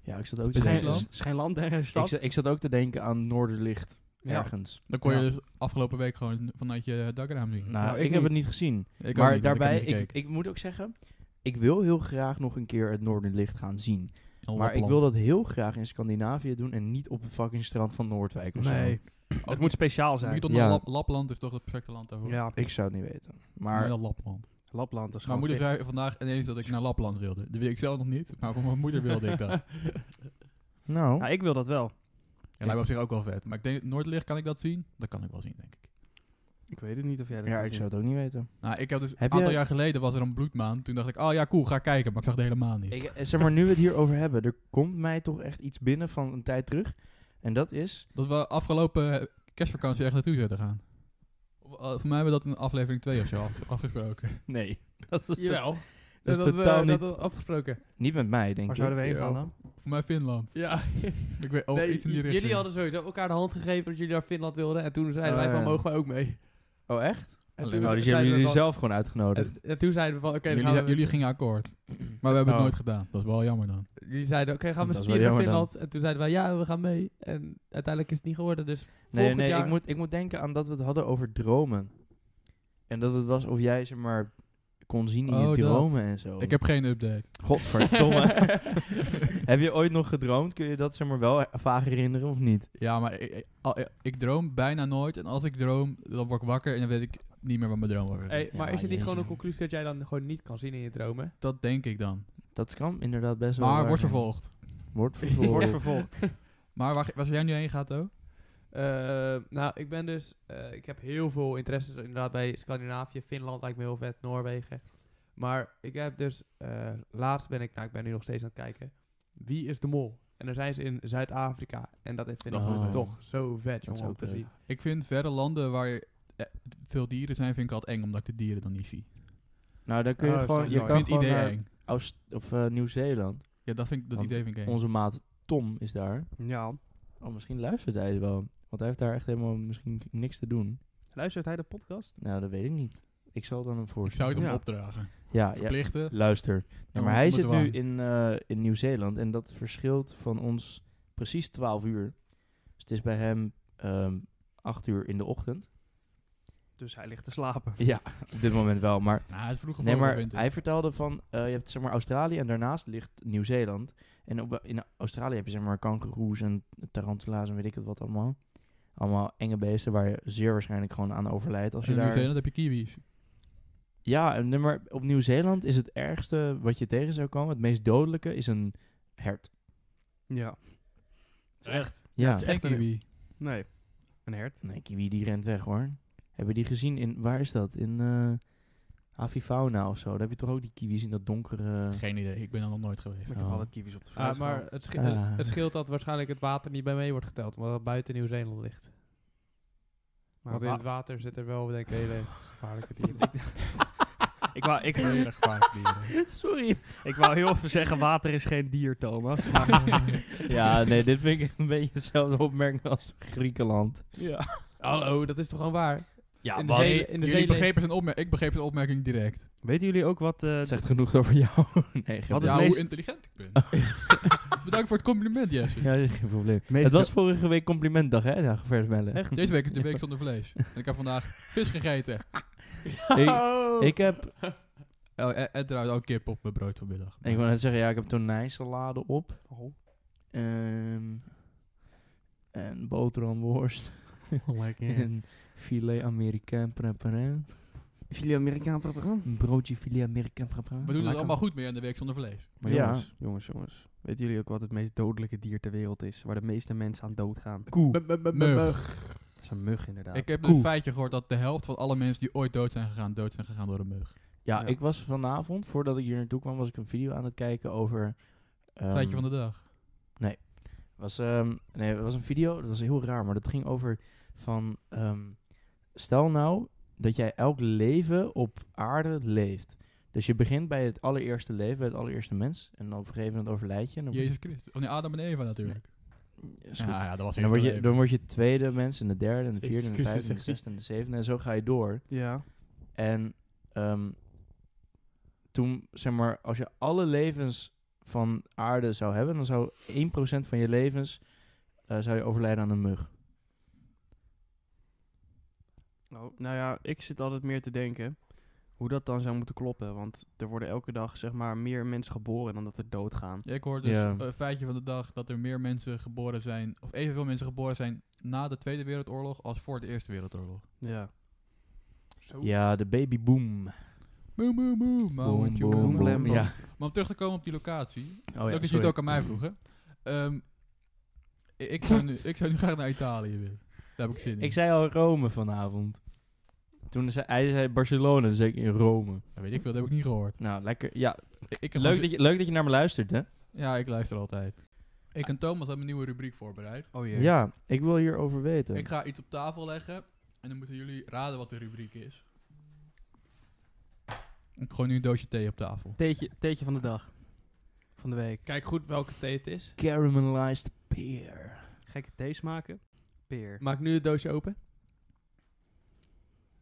[SPEAKER 2] Ja, ik zat ook te
[SPEAKER 3] Is
[SPEAKER 1] Geen
[SPEAKER 3] Nederland?
[SPEAKER 2] denken.
[SPEAKER 1] land. Geen land en geen
[SPEAKER 2] Ik
[SPEAKER 1] stad.
[SPEAKER 2] zat, ik zat ook te denken aan Noorderlicht.
[SPEAKER 6] Ja.
[SPEAKER 2] Ergens.
[SPEAKER 3] Dan kon je
[SPEAKER 2] Ja.
[SPEAKER 3] dus afgelopen week gewoon vanuit je dakraam zien.
[SPEAKER 2] Nou,
[SPEAKER 1] Nou,
[SPEAKER 2] ik,
[SPEAKER 1] ik
[SPEAKER 2] heb
[SPEAKER 1] niet.
[SPEAKER 2] het niet gezien.
[SPEAKER 3] ik ook
[SPEAKER 2] maar
[SPEAKER 3] niet, want
[SPEAKER 2] daarbij,
[SPEAKER 3] ik, heb
[SPEAKER 2] ik,
[SPEAKER 3] niet
[SPEAKER 2] ik moet ook zeggen, ik wil heel graag nog een keer het Noorderlicht gaan zien.
[SPEAKER 3] gekeken. Al
[SPEAKER 2] Maar
[SPEAKER 3] op
[SPEAKER 2] ik
[SPEAKER 3] land.
[SPEAKER 2] wil dat heel graag in Scandinavië doen en niet op het fucking strand van Noordwijk of zo.
[SPEAKER 1] Nee,
[SPEAKER 3] Ook
[SPEAKER 1] het moet speciaal zijn.
[SPEAKER 3] Moet je toch
[SPEAKER 2] Ja.
[SPEAKER 3] naar Lap- Lapland is toch het perfecte land daarvoor.
[SPEAKER 1] Ja,
[SPEAKER 2] Ik zou het niet weten.
[SPEAKER 3] Maar
[SPEAKER 2] Maar
[SPEAKER 3] dat Lapland.
[SPEAKER 6] Lapland is
[SPEAKER 3] Mijn
[SPEAKER 6] gewoon
[SPEAKER 3] moeder
[SPEAKER 6] vet.
[SPEAKER 3] zei vandaag ineens dat ik naar Lapland wilde. Dat weet ik zelf nog niet, maar voor mijn moeder wilde ik dat.
[SPEAKER 1] Ja,
[SPEAKER 2] nou,
[SPEAKER 1] ik wil dat wel.
[SPEAKER 3] En lijkt me op zich ook wel vet. Maar ik denk, Noordlicht kan ik dat zien? Dat kan ik wel zien, denk ik.
[SPEAKER 1] Ik weet het niet of jij dat
[SPEAKER 2] ja,
[SPEAKER 1] kan
[SPEAKER 2] ik
[SPEAKER 1] zien.
[SPEAKER 2] zou het ook niet weten.
[SPEAKER 3] Nou, ik heb dus
[SPEAKER 2] Heb
[SPEAKER 3] een aantal
[SPEAKER 2] je-
[SPEAKER 3] jaar geleden was er een bloedmaan. Toen dacht ik, oh ja, cool, ga kijken. Maar ik zag de hele maan niet.
[SPEAKER 2] Ik, eh, zeg maar, nu we het hierover hebben, er komt mij toch echt iets binnen van een tijd terug. En dat is,
[SPEAKER 3] Dat we afgelopen eh, kerstvakantie echt naartoe zouden gaan. Of, eh, voor mij hebben we dat in aflevering 2 of zo af- afgesproken.
[SPEAKER 2] nee, dat is, toch-
[SPEAKER 4] Jawel.
[SPEAKER 2] dat is
[SPEAKER 4] dat
[SPEAKER 2] totaal
[SPEAKER 4] we,
[SPEAKER 2] niet,
[SPEAKER 4] Dat we afgesproken.
[SPEAKER 2] niet met mij, denk
[SPEAKER 1] Waar
[SPEAKER 2] ik.
[SPEAKER 1] zouden we heen
[SPEAKER 4] Ja.
[SPEAKER 1] gaan dan?
[SPEAKER 3] voor mij Finland.
[SPEAKER 4] Ja.
[SPEAKER 3] Ik weet ook
[SPEAKER 4] Nee,
[SPEAKER 3] Oh, iets in die
[SPEAKER 4] j-
[SPEAKER 3] richting.
[SPEAKER 4] Jullie hadden sowieso elkaar de hand gegeven dat jullie naar Finland wilden. En toen zeiden
[SPEAKER 2] Oh,
[SPEAKER 4] wij van,
[SPEAKER 2] ja.
[SPEAKER 4] mogen wij ook mee?
[SPEAKER 2] Oh, echt?
[SPEAKER 4] En
[SPEAKER 3] Alleen
[SPEAKER 4] toen
[SPEAKER 2] Oh, dus
[SPEAKER 4] zeiden
[SPEAKER 2] hebben
[SPEAKER 4] we
[SPEAKER 2] jullie
[SPEAKER 4] van-
[SPEAKER 2] zelf gewoon uitgenodigd.
[SPEAKER 4] En, en toen zeiden we van, oké, dan
[SPEAKER 3] jullie,
[SPEAKER 4] gaan we
[SPEAKER 3] jullie,
[SPEAKER 4] met z'n-
[SPEAKER 3] gingen akkoord. Maar we hebben
[SPEAKER 2] Oh.
[SPEAKER 3] het nooit gedaan. Dat is wel jammer dan.
[SPEAKER 4] jullie zeiden, oké, gaan we
[SPEAKER 2] Dat is wel
[SPEAKER 4] spelen naar
[SPEAKER 2] jammer dan.
[SPEAKER 4] Finland? En toen zeiden wij, ja, we gaan mee. En uiteindelijk is het niet geworden, dus
[SPEAKER 2] Nee,
[SPEAKER 4] volgend
[SPEAKER 2] nee,
[SPEAKER 4] jaar...
[SPEAKER 2] ik, moet, ik moet denken aan dat we het hadden over dromen. En dat het was of jij ze maar kon zien in
[SPEAKER 3] Oh,
[SPEAKER 2] je
[SPEAKER 3] dat.
[SPEAKER 2] dromen en zo.
[SPEAKER 3] Ik heb geen update.
[SPEAKER 2] Godverdomme. heb je ooit nog gedroomd? Kun je dat zeg maar wel vaag herinneren of niet?
[SPEAKER 3] Ja, maar ik, ik, al- ik- ik droom bijna nooit. En als ik droom, dan word ik wakker en dan weet ik niet meer wat mijn droom was.
[SPEAKER 4] Hey,
[SPEAKER 2] Ja,
[SPEAKER 4] maar is het niet
[SPEAKER 2] jezus.
[SPEAKER 4] gewoon een conclusie dat jij dan gewoon niet kan zien in je dromen?
[SPEAKER 3] Dat denk ik dan.
[SPEAKER 2] Dat kan inderdaad best wel.
[SPEAKER 3] maar
[SPEAKER 2] waar
[SPEAKER 3] wordt
[SPEAKER 2] zijn.
[SPEAKER 3] vervolgd.
[SPEAKER 2] Wordt
[SPEAKER 1] Wordt
[SPEAKER 2] vervolgd.
[SPEAKER 1] vervolgd.
[SPEAKER 3] Maar waar, waar zou jij nu heen gaat ook?
[SPEAKER 4] Eh, nou, ik ben dus... eh, ik heb heel veel interesses inderdaad bij Scandinavië. Finland lijkt me heel vet, Noorwegen. Maar ik heb dus... eh, laatst ben ik... Nou, ik ben nu nog steeds aan het kijken. Wie is de mol? En dan zijn ze in Zuid-Afrika. En dat vind ik dus
[SPEAKER 3] Dat is wel vet.
[SPEAKER 4] toch zo vet,
[SPEAKER 2] Oh. Dat is
[SPEAKER 4] jongen, om
[SPEAKER 2] ook
[SPEAKER 4] te
[SPEAKER 2] leuk.
[SPEAKER 4] zien.
[SPEAKER 3] Ik vind verre landen waar je- eh, veel dieren zijn, vind ik altijd eng, omdat ik de dieren dan niet zie. Dus
[SPEAKER 2] Nou, dan kun je
[SPEAKER 4] Oh,
[SPEAKER 2] gewoon.
[SPEAKER 4] sorry,
[SPEAKER 2] Je
[SPEAKER 4] sorry.
[SPEAKER 3] ik
[SPEAKER 2] kan
[SPEAKER 3] vind het
[SPEAKER 2] gewoon
[SPEAKER 3] idee
[SPEAKER 2] naar
[SPEAKER 3] eng.
[SPEAKER 2] Oost- of eh, Nieuw-Zeeland.
[SPEAKER 3] Ja, dat, vind ik, dat
[SPEAKER 2] Want
[SPEAKER 3] idee vind ik eng.
[SPEAKER 2] Onze maat Tom is daar.
[SPEAKER 1] Ja.
[SPEAKER 2] Oh, misschien luistert hij wel. Want hij heeft daar echt helemaal misschien niks te doen.
[SPEAKER 1] Luistert hij de podcast?
[SPEAKER 2] Nou, dat weet ik niet. Ik zal dan hem
[SPEAKER 3] Ik zou
[SPEAKER 2] voorstellen.
[SPEAKER 3] het hem
[SPEAKER 1] Ja.
[SPEAKER 3] opdragen.
[SPEAKER 2] Ja, ja,
[SPEAKER 3] Verplichten.
[SPEAKER 2] Luister.
[SPEAKER 3] Ja,
[SPEAKER 2] Nou, maar hij
[SPEAKER 3] onder
[SPEAKER 2] zit
[SPEAKER 3] dwang.
[SPEAKER 2] nu in, eh, in Nieuw-Zeeland en dat verschilt van ons precies 12 uur. Dus het is bij hem ehm 8 uur in de ochtend.
[SPEAKER 1] Dus hij ligt te slapen.
[SPEAKER 2] Ja, op dit moment wel. Maar,
[SPEAKER 3] Nou, het is vroeger
[SPEAKER 2] nee, maar
[SPEAKER 3] vind ik.
[SPEAKER 2] hij vertelde van, eh, je hebt zeg maar Australië en daarnaast ligt Nieuw-Zeeland. En op, in Australië heb je zeg maar kangoeroes en tarantula's en weet ik het wat allemaal. Allemaal enge beesten waar je zeer waarschijnlijk gewoon aan overlijdt als
[SPEAKER 3] In
[SPEAKER 2] je daar...
[SPEAKER 3] Nieuw-Zeeland heb je kiwis.
[SPEAKER 2] Ja, en, nee, maar op Nieuw-Zeeland is het ergste wat je tegen zou komen, het meest dodelijke, is een hert.
[SPEAKER 1] Ja. Echt?
[SPEAKER 2] Ja.
[SPEAKER 3] Geen kiwi.
[SPEAKER 1] Nee. Een hert.
[SPEAKER 2] Nee, Kiwi die rent weg hoor. Hebben die gezien in, waar is dat? In eh Avifauna of zo. Daar heb je toch ook die kiwis in dat donkere...
[SPEAKER 3] Geen idee, ik ben er nog nooit geweest.
[SPEAKER 1] Ik heb
[SPEAKER 2] Oh.
[SPEAKER 1] altijd kiwis op de
[SPEAKER 4] Ah,
[SPEAKER 1] vuist
[SPEAKER 4] maar
[SPEAKER 1] gehad.
[SPEAKER 4] het, sche-
[SPEAKER 2] Ah.
[SPEAKER 4] het- het scheelt dat waarschijnlijk het water niet bij mee wordt geteld, omdat het buiten Nieuw-Zeeland ligt.
[SPEAKER 1] Maar
[SPEAKER 4] Want in
[SPEAKER 1] wa-
[SPEAKER 4] het water zitten wel, denk ik, hele gevaarlijke dieren.
[SPEAKER 1] ik, wou, ik,
[SPEAKER 3] Hele gevaarlijke dieren.
[SPEAKER 2] Sorry.
[SPEAKER 1] ik wou heel even zeggen, water is geen dier, Thomas. Maar,
[SPEAKER 2] Ja, nee, dit vind ik een beetje hetzelfde opmerking als Griekenland.
[SPEAKER 1] ja.
[SPEAKER 4] Hallo, dat is toch gewoon waar?
[SPEAKER 2] Ja,
[SPEAKER 4] In de
[SPEAKER 2] wat?
[SPEAKER 4] zee-
[SPEAKER 3] Jullie-
[SPEAKER 4] in de
[SPEAKER 3] Jullie
[SPEAKER 4] zee-
[SPEAKER 3] begrepen zijn opmerking. Ik begreep zijn opmerking direct.
[SPEAKER 1] Weten jullie ook wat... eh,
[SPEAKER 2] Het zegt genoeg over jou. Nee,
[SPEAKER 1] Wat
[SPEAKER 2] wat
[SPEAKER 1] het
[SPEAKER 3] Ja,
[SPEAKER 1] meest-
[SPEAKER 3] hoe intelligent ik ben. Bedankt voor het compliment, Jesse.
[SPEAKER 2] Ja, geen probleem.
[SPEAKER 1] Meest-
[SPEAKER 2] het was vorige week complimentdag, hè? Ja, versmellen.
[SPEAKER 1] Echt?
[SPEAKER 3] Deze week is de week zonder vlees. En ik heb vandaag vis gegeten.
[SPEAKER 1] Oh.
[SPEAKER 2] Ik, ik heb...
[SPEAKER 3] Oh, en, en trouwens ook kip op mijn brood vanmiddag.
[SPEAKER 2] Ik wil net zeggen, ja, ik heb tonijnsalade op.
[SPEAKER 1] Oh.
[SPEAKER 2] Ehm, en boterhamworst. En filet américain preparé.
[SPEAKER 1] Is jullie Amerikaan programma?
[SPEAKER 2] Een broodje filet américain preparé.
[SPEAKER 3] We doen het
[SPEAKER 1] Lekker.
[SPEAKER 3] allemaal goed mee aan de week zonder vlees.
[SPEAKER 1] Maar
[SPEAKER 2] Ja.
[SPEAKER 1] jongens, jongens, jongens. Weten jullie ook wat het meest dodelijke dier ter wereld is? Waar de meeste mensen aan doodgaan?
[SPEAKER 4] Koe.
[SPEAKER 3] Mug.
[SPEAKER 1] Dat is een mug inderdaad.
[SPEAKER 3] Ik eh, heb
[SPEAKER 4] Koe.
[SPEAKER 3] een feitje gehoord dat de helft van alle mensen die ooit dood zijn gegaan, dood zijn gegaan door een mug.
[SPEAKER 2] Ja,
[SPEAKER 1] Ja.
[SPEAKER 2] ik was vanavond, voordat ik hier naartoe kwam, was ik een video aan het kijken over... ehm,
[SPEAKER 3] Feitje van de dag.
[SPEAKER 2] was, ehm, nee, het was een video, dat was heel raar, maar dat ging over van... ehm, stel nou dat jij elk leven op aarde leeft. Dus je begint bij het allereerste leven, bij het allereerste mens. En dan op een gegeven moment overlijd je. En dan,
[SPEAKER 3] Jezus Christus. Oh nee, Adam en Eva natuurlijk.
[SPEAKER 2] Ja, is
[SPEAKER 3] Ja,
[SPEAKER 2] goed.
[SPEAKER 3] ja, dat was
[SPEAKER 2] En dan, word
[SPEAKER 3] eerst
[SPEAKER 2] je,
[SPEAKER 3] wel
[SPEAKER 2] dan word je tweede mens, en de derde, en de vierde, en de
[SPEAKER 4] Jezus
[SPEAKER 2] vijfde, en de
[SPEAKER 4] Christus,
[SPEAKER 2] zesde, en de zevende. En zo ga je door.
[SPEAKER 1] Ja.
[SPEAKER 2] En ehm, toen, zeg maar, als je alle levens van aarde zou hebben, dan zou 1% van je levens eh, zou je overlijden aan een mug.
[SPEAKER 1] Nou, nou ja, ik zit altijd meer te denken hoe dat dan zou moeten kloppen. Want er worden elke dag zeg maar meer mensen geboren dan dat er doodgaan.
[SPEAKER 3] even. Ik hoorde dus
[SPEAKER 2] Ja.
[SPEAKER 3] een feitje van de dag dat er meer mensen geboren zijn, of evenveel mensen geboren zijn na de Tweede Wereldoorlog als voor de Eerste Wereldoorlog.
[SPEAKER 1] Ja.
[SPEAKER 2] Ja, de babyboom.
[SPEAKER 3] Moe, moe, moe. Maar
[SPEAKER 2] Boom,
[SPEAKER 3] want je-
[SPEAKER 2] boom,
[SPEAKER 1] boom,
[SPEAKER 2] boom.
[SPEAKER 1] boom.
[SPEAKER 2] Ja.
[SPEAKER 3] Maar om terug te komen op die locatie,
[SPEAKER 2] Oh ja,
[SPEAKER 3] Leuk dat
[SPEAKER 2] sorry.
[SPEAKER 3] jullie het ook aan mij vroegen. Ehm, i- ik, zou nu, ik zou nu graag naar Italië willen. Daar heb ik zin in.
[SPEAKER 2] Ik zei al Rome vanavond. Toen zei hij zei Barcelona, toen zei ik in Rome.
[SPEAKER 3] Ja, weet ik veel, dat heb ik niet gehoord.
[SPEAKER 2] Nou, lekker. Ja,
[SPEAKER 3] Ik, ik heb
[SPEAKER 2] leuk
[SPEAKER 3] gewoon
[SPEAKER 2] dat, je, leuk dat je naar me luistert, hè?
[SPEAKER 3] zin- Ja, ik luister altijd. Ik en Thomas hebben een nieuwe rubriek voorbereid.
[SPEAKER 1] Oh jee.
[SPEAKER 2] Ja, ik wil hierover weten.
[SPEAKER 3] Ik ga iets op tafel leggen en dan moeten jullie raden wat de rubriek is. Ik gooi nu een doosje thee op tafel.
[SPEAKER 1] Theetje, theetje van de dag. Van de week.
[SPEAKER 4] Kijk goed welke thee het is.
[SPEAKER 2] Caramelized pear.
[SPEAKER 1] Gekke thee smaken. Peer.
[SPEAKER 4] Maak nu het doosje open.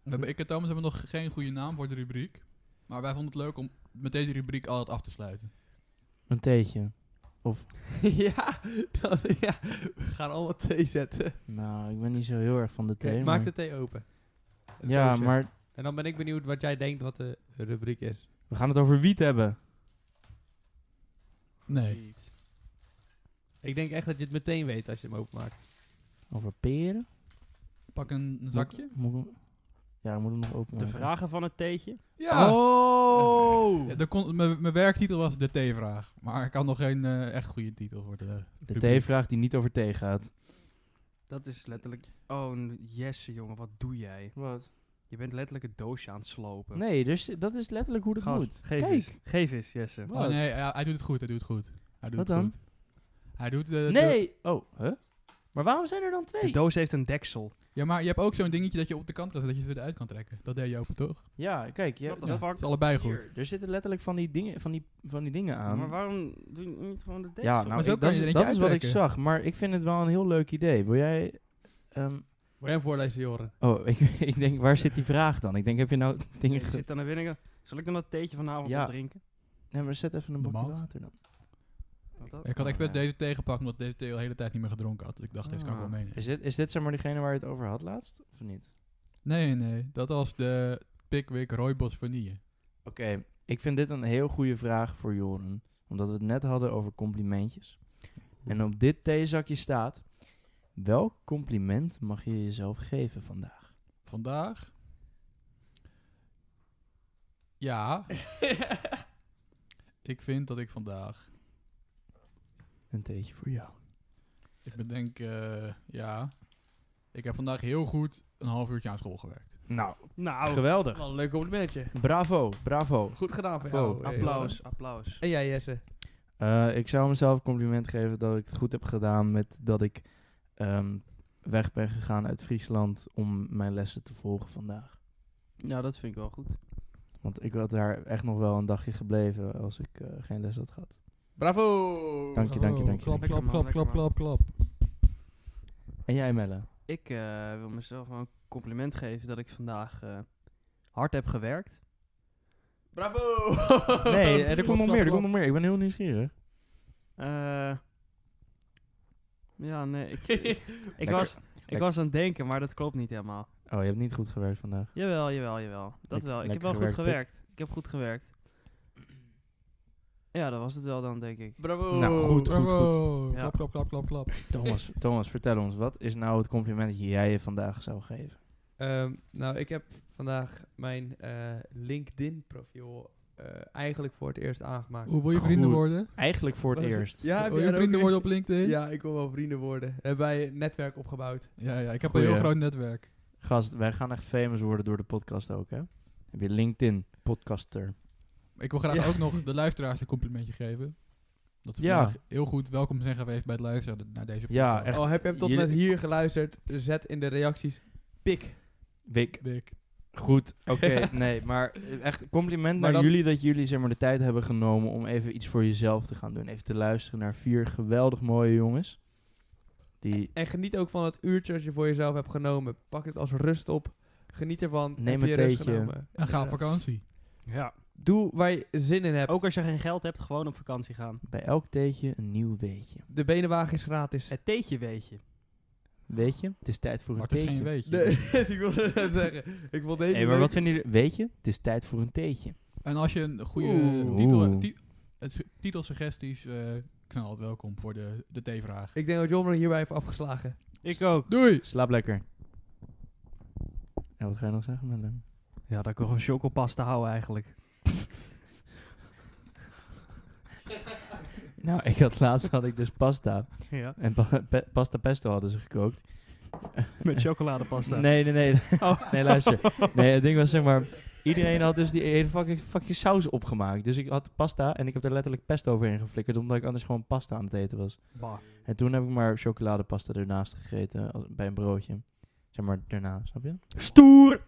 [SPEAKER 3] We hebben- Ik en Thomas hebben nog geen goede naam voor de rubriek. Maar wij vonden het leuk om met deze rubriek altijd af te sluiten.
[SPEAKER 2] Een theetje.
[SPEAKER 4] ja, dan, ja, we gaan allemaal thee zetten.
[SPEAKER 2] Nou, ik ben niet zo heel erg van de
[SPEAKER 4] Oké,
[SPEAKER 2] thee.
[SPEAKER 4] maak
[SPEAKER 2] maar-
[SPEAKER 4] de thee open. Het
[SPEAKER 2] Ja,
[SPEAKER 4] doosje.
[SPEAKER 2] maar
[SPEAKER 4] En dan ben ik benieuwd wat jij denkt wat de rubriek is.
[SPEAKER 2] we gaan het over wiet hebben.
[SPEAKER 3] Nee.
[SPEAKER 4] Ik denk echt dat je het meteen weet als je hem openmaakt.
[SPEAKER 2] Over peren?
[SPEAKER 3] Pak een zakje.
[SPEAKER 2] Moet ik hem- ja, ik moet hem nog openmaken.
[SPEAKER 1] De vragen van het theetje.
[SPEAKER 3] Ja!
[SPEAKER 2] Oh!
[SPEAKER 3] Ja, de kon- mijn mijn werktitel was de T-vraag. Maar ik had nog geen eh, echt goede titel voor de.
[SPEAKER 2] De
[SPEAKER 3] rubriek.
[SPEAKER 2] thee-vraag die niet over thee gaat.
[SPEAKER 1] Dat is letterlijk... Oh, n- Jesse jongen, wat doe jij?
[SPEAKER 2] Wat?
[SPEAKER 1] Je bent letterlijk het doosje aan het slopen.
[SPEAKER 2] Nee, dus dat is letterlijk hoe dat
[SPEAKER 1] Gast,
[SPEAKER 2] moet.
[SPEAKER 1] geef
[SPEAKER 2] Kijk.
[SPEAKER 1] eens. Geef eens, Jesse.
[SPEAKER 3] Oh nee, hij, hij doet het goed. Hij doet het goed. Hij doet
[SPEAKER 2] Wat
[SPEAKER 3] het
[SPEAKER 2] dan?
[SPEAKER 3] goed. Hij doet eh, de.
[SPEAKER 2] Nee! Oh, huh? Maar waarom zijn er dan
[SPEAKER 1] De
[SPEAKER 2] twee?
[SPEAKER 1] doos heeft een deksel.
[SPEAKER 3] Ja, maar je hebt ook zo'n dingetje dat je op de kant kan zetten, dat je het eruit kan trekken. Dat deed je open toch?
[SPEAKER 2] Ja, kijk. Je,
[SPEAKER 1] What the
[SPEAKER 3] ja,
[SPEAKER 1] fuck?
[SPEAKER 3] het is allebei goed.
[SPEAKER 1] Hier.
[SPEAKER 2] er zitten letterlijk van die dingen, van die, van die dingen aan.
[SPEAKER 1] Maar waarom doe je niet gewoon de deksel?
[SPEAKER 2] ja, nou,
[SPEAKER 3] Maar zo
[SPEAKER 2] ik-
[SPEAKER 3] kan
[SPEAKER 2] dat,
[SPEAKER 3] je
[SPEAKER 2] is,
[SPEAKER 3] er eentje
[SPEAKER 2] dat is wat ik
[SPEAKER 3] uittrekken.
[SPEAKER 2] zag. Maar ik vind het wel een heel leuk idee. Wil jij... ehm,
[SPEAKER 4] Moet jij hem voorlezen, Joren?
[SPEAKER 2] oh, ik, ik denk, waar zit die vraag dan? Ik denk, heb je nou dingen...
[SPEAKER 1] Ik
[SPEAKER 2] ge-
[SPEAKER 1] zit dan naar binnen. Zal ik dan dat theetje vanavond
[SPEAKER 2] Ja.
[SPEAKER 1] drinken?
[SPEAKER 2] Nee, maar zet even een bakje
[SPEAKER 3] Mag.
[SPEAKER 2] water dan.
[SPEAKER 1] Wat dat?
[SPEAKER 3] Ik had expert
[SPEAKER 2] Oh, ja.
[SPEAKER 3] deze tegengepakt omdat deze thee al de hele tijd niet meer gedronken had. Dus ik dacht, deze kan ik wel
[SPEAKER 1] Ah.
[SPEAKER 3] meenemen.
[SPEAKER 2] Is dit, is dit zeg maar degene waar je het over had laatst? Of niet?
[SPEAKER 3] Nee, nee. Dat was de Pickwick Rooibos Vanille.
[SPEAKER 2] Oké, ik vind dit een heel goede vraag voor Joren. Omdat we het net hadden over complimentjes. En op dit theezakje staat... Welk compliment mag je jezelf geven vandaag?
[SPEAKER 3] Vandaag. Ja. ik vind dat ik vandaag
[SPEAKER 2] Een theetje voor jou.
[SPEAKER 3] Ik bedenk, eh, ja. Ik heb vandaag heel goed een half uurtje aan school gewerkt.
[SPEAKER 2] Nou,
[SPEAKER 1] Nou,
[SPEAKER 2] geweldig.
[SPEAKER 4] Wel een leuk complimentje.
[SPEAKER 2] Bravo, bravo.
[SPEAKER 4] Goed gedaan voor
[SPEAKER 2] Wow.
[SPEAKER 4] jou. eh,
[SPEAKER 1] applaus,
[SPEAKER 4] Joren.
[SPEAKER 1] applaus.
[SPEAKER 4] En jij, Jesse?
[SPEAKER 2] Eh, ik zou mezelf een compliment geven dat ik het goed heb gedaan met dat ik ehm, weg ben gegaan uit Friesland om mijn lessen te volgen vandaag.
[SPEAKER 1] Nou, dat vind ik wel goed.
[SPEAKER 2] Want ik had daar echt nog wel een dagje gebleven als ik eh, geen les had gehad.
[SPEAKER 4] Bravo!
[SPEAKER 2] Dank je, dank je, dank je.
[SPEAKER 3] Klap, klap,
[SPEAKER 1] Oh, Lekker man,
[SPEAKER 3] klap, klap, klap, klap.
[SPEAKER 2] En jij, Melle?
[SPEAKER 1] Ik eh, wil mezelf wel een compliment geven dat ik vandaag eh, hard heb gewerkt.
[SPEAKER 4] Bravo!
[SPEAKER 2] Nee, eh, er
[SPEAKER 3] Klap,
[SPEAKER 2] komt nog
[SPEAKER 3] klap,
[SPEAKER 2] meer, er
[SPEAKER 3] klap.
[SPEAKER 2] komt nog meer. Ik ben heel nieuwsgierig.
[SPEAKER 1] Eh, Ja, nee. Ik, ik,
[SPEAKER 2] Lekker.
[SPEAKER 1] was, ik
[SPEAKER 2] Lekker.
[SPEAKER 1] was aan het denken, maar dat klopt niet helemaal.
[SPEAKER 2] Oh, je hebt niet goed gewerkt vandaag.
[SPEAKER 1] Jawel, jawel, jawel. Dat
[SPEAKER 2] Lek-
[SPEAKER 1] wel. Ik heb
[SPEAKER 2] lekker
[SPEAKER 1] wel goed
[SPEAKER 2] gewerkt,
[SPEAKER 1] gewerkt. Ik heb goed gewerkt. Ja, dat was het wel dan, denk ik.
[SPEAKER 3] Bravo.
[SPEAKER 2] Nou, goed, goed,
[SPEAKER 3] Bravo.
[SPEAKER 1] goed.
[SPEAKER 3] Klap, klap, klap, klap, klap.
[SPEAKER 2] Thomas, Thomas, vertel ons, wat is nou het compliment dat jij je vandaag zou geven?
[SPEAKER 4] Ehm, nou, ik heb vandaag mijn eh, LinkedIn-profiel eh, eigenlijk voor het eerst aangemaakt. Oh,
[SPEAKER 3] Hoe wil je vrienden
[SPEAKER 2] Goed.
[SPEAKER 3] worden?
[SPEAKER 2] Eigenlijk voor het
[SPEAKER 4] Was het-
[SPEAKER 2] eerst.
[SPEAKER 4] Ja, heb
[SPEAKER 3] wil
[SPEAKER 4] jij
[SPEAKER 3] je
[SPEAKER 4] dat ook
[SPEAKER 3] vrienden
[SPEAKER 4] niet?
[SPEAKER 3] worden op LinkedIn?
[SPEAKER 4] Ja, ik wil wel vrienden worden. Hebben wij een netwerk opgebouwd.
[SPEAKER 3] ja, ja, ik heb een
[SPEAKER 2] Goeie.
[SPEAKER 3] heel groot netwerk.
[SPEAKER 2] Gast, wij gaan echt famous worden door de podcast ook, hè? Heb je LinkedIn, podcaster.
[SPEAKER 3] Ik wil graag
[SPEAKER 4] Ja.
[SPEAKER 3] ook nog de luisteraars een complimentje geven. Dat ze
[SPEAKER 2] Ja.
[SPEAKER 3] vandaag heel goed welkom zijn geweest bij het luisteren naar deze
[SPEAKER 2] Ja,
[SPEAKER 3] podcast. Oh,
[SPEAKER 2] echt.
[SPEAKER 4] Al Oh, heb je hem tot
[SPEAKER 2] jullie-
[SPEAKER 4] met hier geluisterd, zet in de reacties pik.
[SPEAKER 2] Wik.
[SPEAKER 3] Big.
[SPEAKER 2] Goed, oké, nee, maar eh, echt compliment
[SPEAKER 4] Maar
[SPEAKER 2] naar
[SPEAKER 4] dan-
[SPEAKER 2] jullie dat jullie zeg maar, de tijd hebben genomen om even iets voor jezelf te gaan doen. Even te luisteren naar vier geweldig mooie jongens. Die
[SPEAKER 4] En geniet ook van het uurtje dat je voor jezelf hebt genomen. Pak het als rust op. Geniet ervan.
[SPEAKER 2] Neem
[SPEAKER 4] heb
[SPEAKER 2] een
[SPEAKER 4] je rust
[SPEAKER 2] theetje.
[SPEAKER 4] genomen.
[SPEAKER 3] En ga op
[SPEAKER 4] Eh,
[SPEAKER 3] vakantie.
[SPEAKER 1] Ja.
[SPEAKER 4] Doe waar je zin in hebt.
[SPEAKER 1] Ook als je geen geld hebt, gewoon op vakantie gaan.
[SPEAKER 2] bij elk theetje een nieuw weetje.
[SPEAKER 4] De benenwagen is gratis.
[SPEAKER 1] Het theetje weet je.
[SPEAKER 2] Weet je, het is tijd voor een
[SPEAKER 3] Maar het is geen
[SPEAKER 2] theetje.
[SPEAKER 3] weetje.
[SPEAKER 4] Nee, ik wilde net zeggen. Ik wil deze
[SPEAKER 2] Hé, maar wat
[SPEAKER 4] week-
[SPEAKER 2] vinden jullie? Weet je, het is tijd voor een theetje.
[SPEAKER 3] En als je een goede
[SPEAKER 2] Oeh.
[SPEAKER 3] titel,
[SPEAKER 2] Oeh.
[SPEAKER 3] ti- het s- titelsuggesties, eh ik ben altijd welkom voor de, de T-vraag.
[SPEAKER 4] Ik denk dat John hierbij heeft afgeslagen.
[SPEAKER 1] Ik ook.
[SPEAKER 3] Doei!
[SPEAKER 2] Slaap lekker. En wat ga je nog zeggen, Mellem?
[SPEAKER 1] Ja, dat ik wel van chocopasta hou eigenlijk.
[SPEAKER 2] Nou, ik had laatst had ik dus pasta.
[SPEAKER 1] Ja.
[SPEAKER 2] En pa- pe- pasta pesto hadden ze gekookt.
[SPEAKER 1] Met chocoladepasta. Oh.
[SPEAKER 2] Nee, nee, nee. Nee, luister. Nee, het ding was zeg maar... Iedereen had dus die hele fucking, fucking saus opgemaakt. Dus ik had pasta en ik heb er letterlijk pesto overheen geflikkerd... omdat ik anders gewoon pasta aan het eten was.
[SPEAKER 1] Bah.
[SPEAKER 2] En toen heb ik maar chocoladepasta ernaast gegeten als- bij een broodje. Zeg maar, daarna, snap je?
[SPEAKER 1] Stoer!